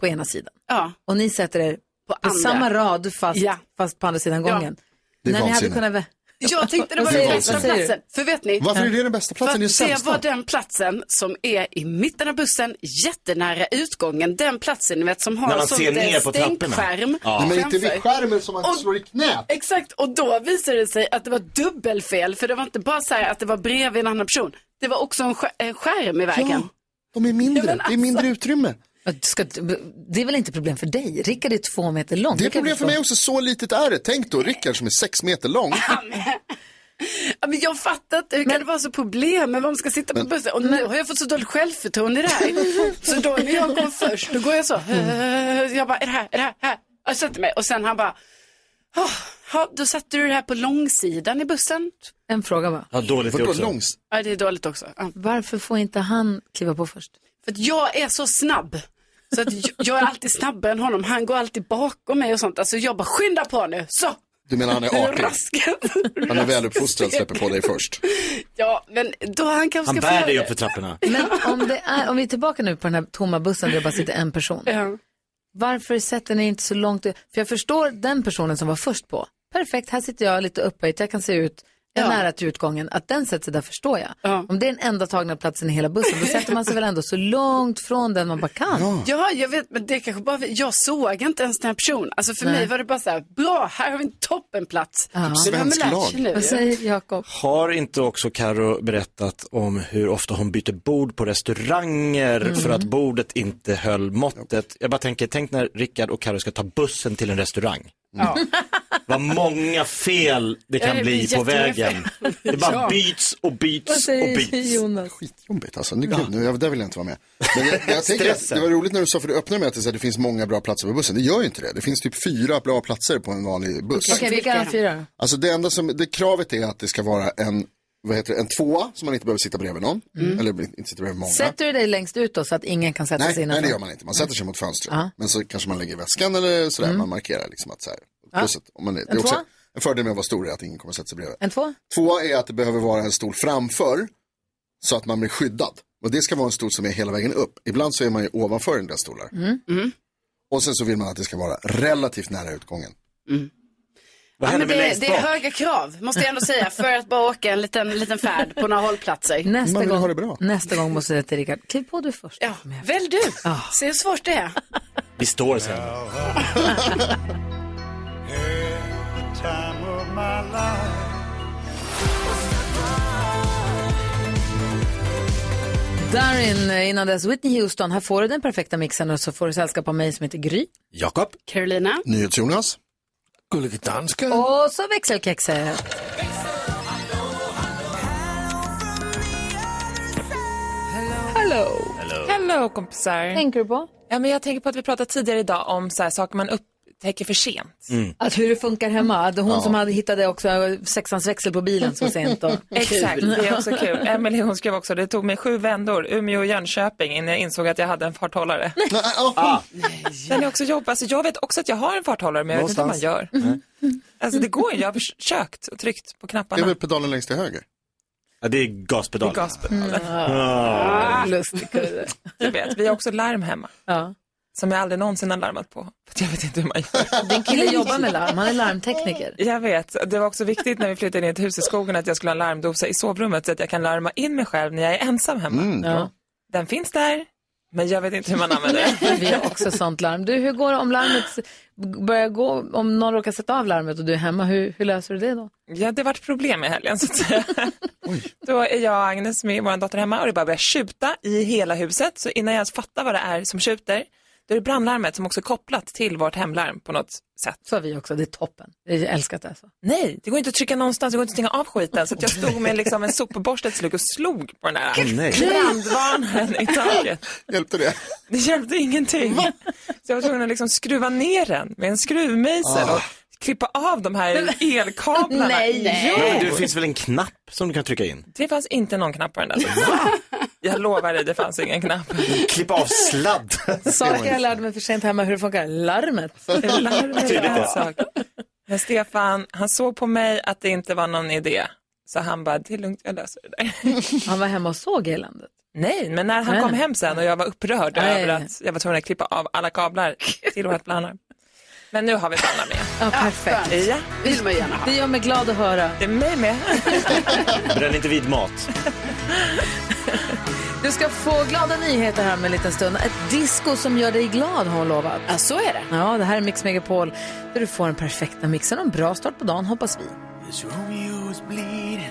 på ena sidan. Ja. Och ni sätter er på, andra. samma rad fast, fast på andra sidan Ja. gången. Det är När ni hade vansinne. kunnat vä- [LAUGHS] Jag tänkte det var Vad säger den du? bästa Vad säger du? platsen. För vet ni? Varför är det den bästa platsen? För Det är att sämsta. Det var den platsen som är i mitten av bussen, jättenära utgången. Den platsen ni vet som har När man sån ser där ner på trapporna. stänkskärm Ja. Men inte vid skärmen som man slår i knät. Exakt, och då visade det sig att det var dubbelfel. För det var inte bara så här att det var bredvid en annan person. Det var också en, skär, en skärm i vägen. alltså. Ja, de är mindre. Det är mindre utrymme. Ska, det är väl inte problem för dig? Rickard är två meter lång. kan Det är jag problem för förstå. mig också. Så litet är det. Tänk då Rickard som är sex meter lång. Ja, men jag fattar inte, hur kan det vara så problem med vad man ska sitta på bussen? Och nu har jag fått så dåligt självförtroende i det här. så då när jag kom först, då går jag så. "Eh", Jag bara, är det här, är det här, här? Jag sätter mig och sen han bara, "Åh, ja, då satte du det här på långsidan i bussen. En fråga bara. Ja, dåligt det Vadå, också. långs- Ja, det är dåligt också. Ja. Varför får inte han kliva på först? För att jag är så snabb. Så att jag, jag är alltid snabbare än honom. Han går alltid bakom mig och sånt. Alltså jag bara, skynda på nu, så! Du menar han är artig? Han är väluppfostrad, släpper på dig först. Ja, men då han kanske Han ska bär få- dig upp för trapporna. Men om, det är, om vi är tillbaka nu på den här tomma bussen där det bara sitter en person. Varför sätter ni inte så långt ut? För jag förstår den personen som var först på. Perfekt, här sitter jag lite upphöjt, jag kan se ut. är nära till utgången, att den sätter sig där förstår jag. Om det är den enda tagna platsen i hela bussen, då sätter man sig väl ändå så långt från den man bara kan. Ja, jag vet, men det är kanske bara, jag såg inte ens den här personen. Alltså för Nej. mig var det bara så här, bra, här har vi en toppenplats. Ja. Men det har man Svensk lärt sig lag. nu. Vad säger Jakob? Har inte också Karo berättat om hur ofta hon byter bord på restauranger Mm. för att bordet inte höll måttet? Jag bara tänker, tänk när Rickard och Karo ska ta bussen till en restaurang. Mm. Vad många fel det Ja, kan det bli blir på jättemånga vägen. fel. Det bara Ja. byts och byts Vad och byts. säger Jonas? Skitjobbigt alltså. Nu, gud, nu, jag- där vill jag inte vara med. Men jag, jag tänker att det Stressen. var roligt när du sa, för du öppnade med att det, så här, det finns många bra platser på bussen. Det gör ju inte det. Det finns typ fyra bra platser på en vanlig buss. Okej, vilka är de fyra? Alltså det enda som, det kravet är att det ska vara en, vad heter det, en tvåa som man inte behöver sitta bredvid någon. Mm. Eller inte sitta bredvid många. Sätter du dig längst ut då så att ingen kan sätta sig nej, nej, innanför? det gör man inte. Man sätter sig mot fönstret. Ja. Men så kanske man lägger väskan eller sådär. Mm. Man markerar liksom att så här. Ja. Plus att, om man, är- det är En också tvåa? en fördel med att vara stor är att ingen kommer sätta sig bredvid. En två? Tvåa är att det behöver vara en stol framför så att man blir skyddad. Och det ska vara en stol som är hela vägen upp. Ibland så är man ju ovanför den där stolar. Mm. Och sen så vill man att det ska vara relativt nära utgången. Mm. Ja, men det, det är höga krav, måste jag ändå säga, för att bara åka en liten, liten färd på några hållplatser. Nästa gång, nästa gång måste jag säga till Rickard, kliv på du först. Ja. Väl du, se hur svårt det är. Vi står sen. [LAUGHS] Time of my life. Darin, eh, innan dess Whitney Houston, här får du den perfekta mixen och så får du sällskap av mig som heter Gry. Jakob. Carolina. NyhetsJonas. Gullige danska. Och så växelkexet. Hello. Hello. Hello kompisar. Tänker du på? Ja, men jag tänker på att vi pratade tidigare idag om så här, saker man upptäcker för sent. Att hur det funkar hemma. Att Hon Ja. som hade hittat det också, eh, sexans växel på bilen så sent. Och... [LAUGHS] Exakt, det är också kul. Emelie hon skrev också, det tog mig sju vändor, Umeå och Jönköping, innan jag insåg att jag hade en farthållare. Ah. Den är också jobbig, alltså, jag vet också att jag har en farthållare men jag vet inte vad man gör. Alltså det går ju, jag har försökt och tryckt på Det är knapparna. väl pedalen längst till höger? Ja, det är gaspedalen. Det är gaspedalen. Mm. Ah. Lustigkurre. Jag vet, vi har också larm hemma. Som jag aldrig någonsin har larmat på. För jag vet inte hur man gör. Din kille jobbar med larm, han är larmtekniker. Jag vet, det var också viktigt när vi flyttade in i ett hus i skogen att jag skulle ha en larmdosa i sovrummet så att jag kan larma in mig själv när jag är ensam hemma. Ja. Den finns där, men jag vet inte hur man använder den. [LAUGHS] Vi har också sånt larm. Du, hur går det om larmet börjar gå, om någon råkar sätta av larmet och du är hemma, hur, hur löser du det då? Ja, det vart problem i helgen så att säga. Då är jag och Agnes med vår dotter hemma och det bara börjar tjuta i hela huset. Så innan jag ens fattar vad det är som tjuter, då är det brandlarmet som också är kopplat till vårt hemlarm på något sätt. Så har vi också, det är toppen. Jag älskar det alltså. Nej, det går inte att trycka någonstans, det går inte att stänga av skiten. Så att jag stod med liksom en sopborste till slut och slog på den där Åh, nej. brandvarnaren i taket. Hjälpte det? Det hjälpte ingenting. Så jag var tvungen att liksom skruva ner den med en skruvmejsel Ah. och klippa av de här elkablarna. Nej. Jo. Men det finns väl en knapp som du kan trycka in? Det fanns inte någon knapp på den där. [LAUGHS] Jag lovar dig, det fanns ingen knapp. Klipp av sladd. Saker jag lärde mig för sent hemma, hur det funkar, larmet. Larmet är Tydligt, en ja. sak. Men Stefan, han såg på mig att det inte var någon idé. Så han bara, det är lugnt, jag löser det där. [LAUGHS] Han var hemma och såg eländet. Nej, men när han Nej. kom hem sen och jag var upprörd Nej. över att jag var tvungen att klippa av alla kablar till vårt brandlarm. Men nu har vi brandlarm igen. Ja, perfekt. Ja, det vill man gärna ha. Det gör mig glad att höra. Det är mig med. Bränn inte vid mat. Du ska få glada nyheter här om en liten stund. Ett disco som gör dig glad har hon lovat. Ja, så är det. Ja, det här är Mix Megapol där du får den perfekta mixen och en bra start på dagen hoppas vi. This Romeo is bleeding.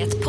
Ett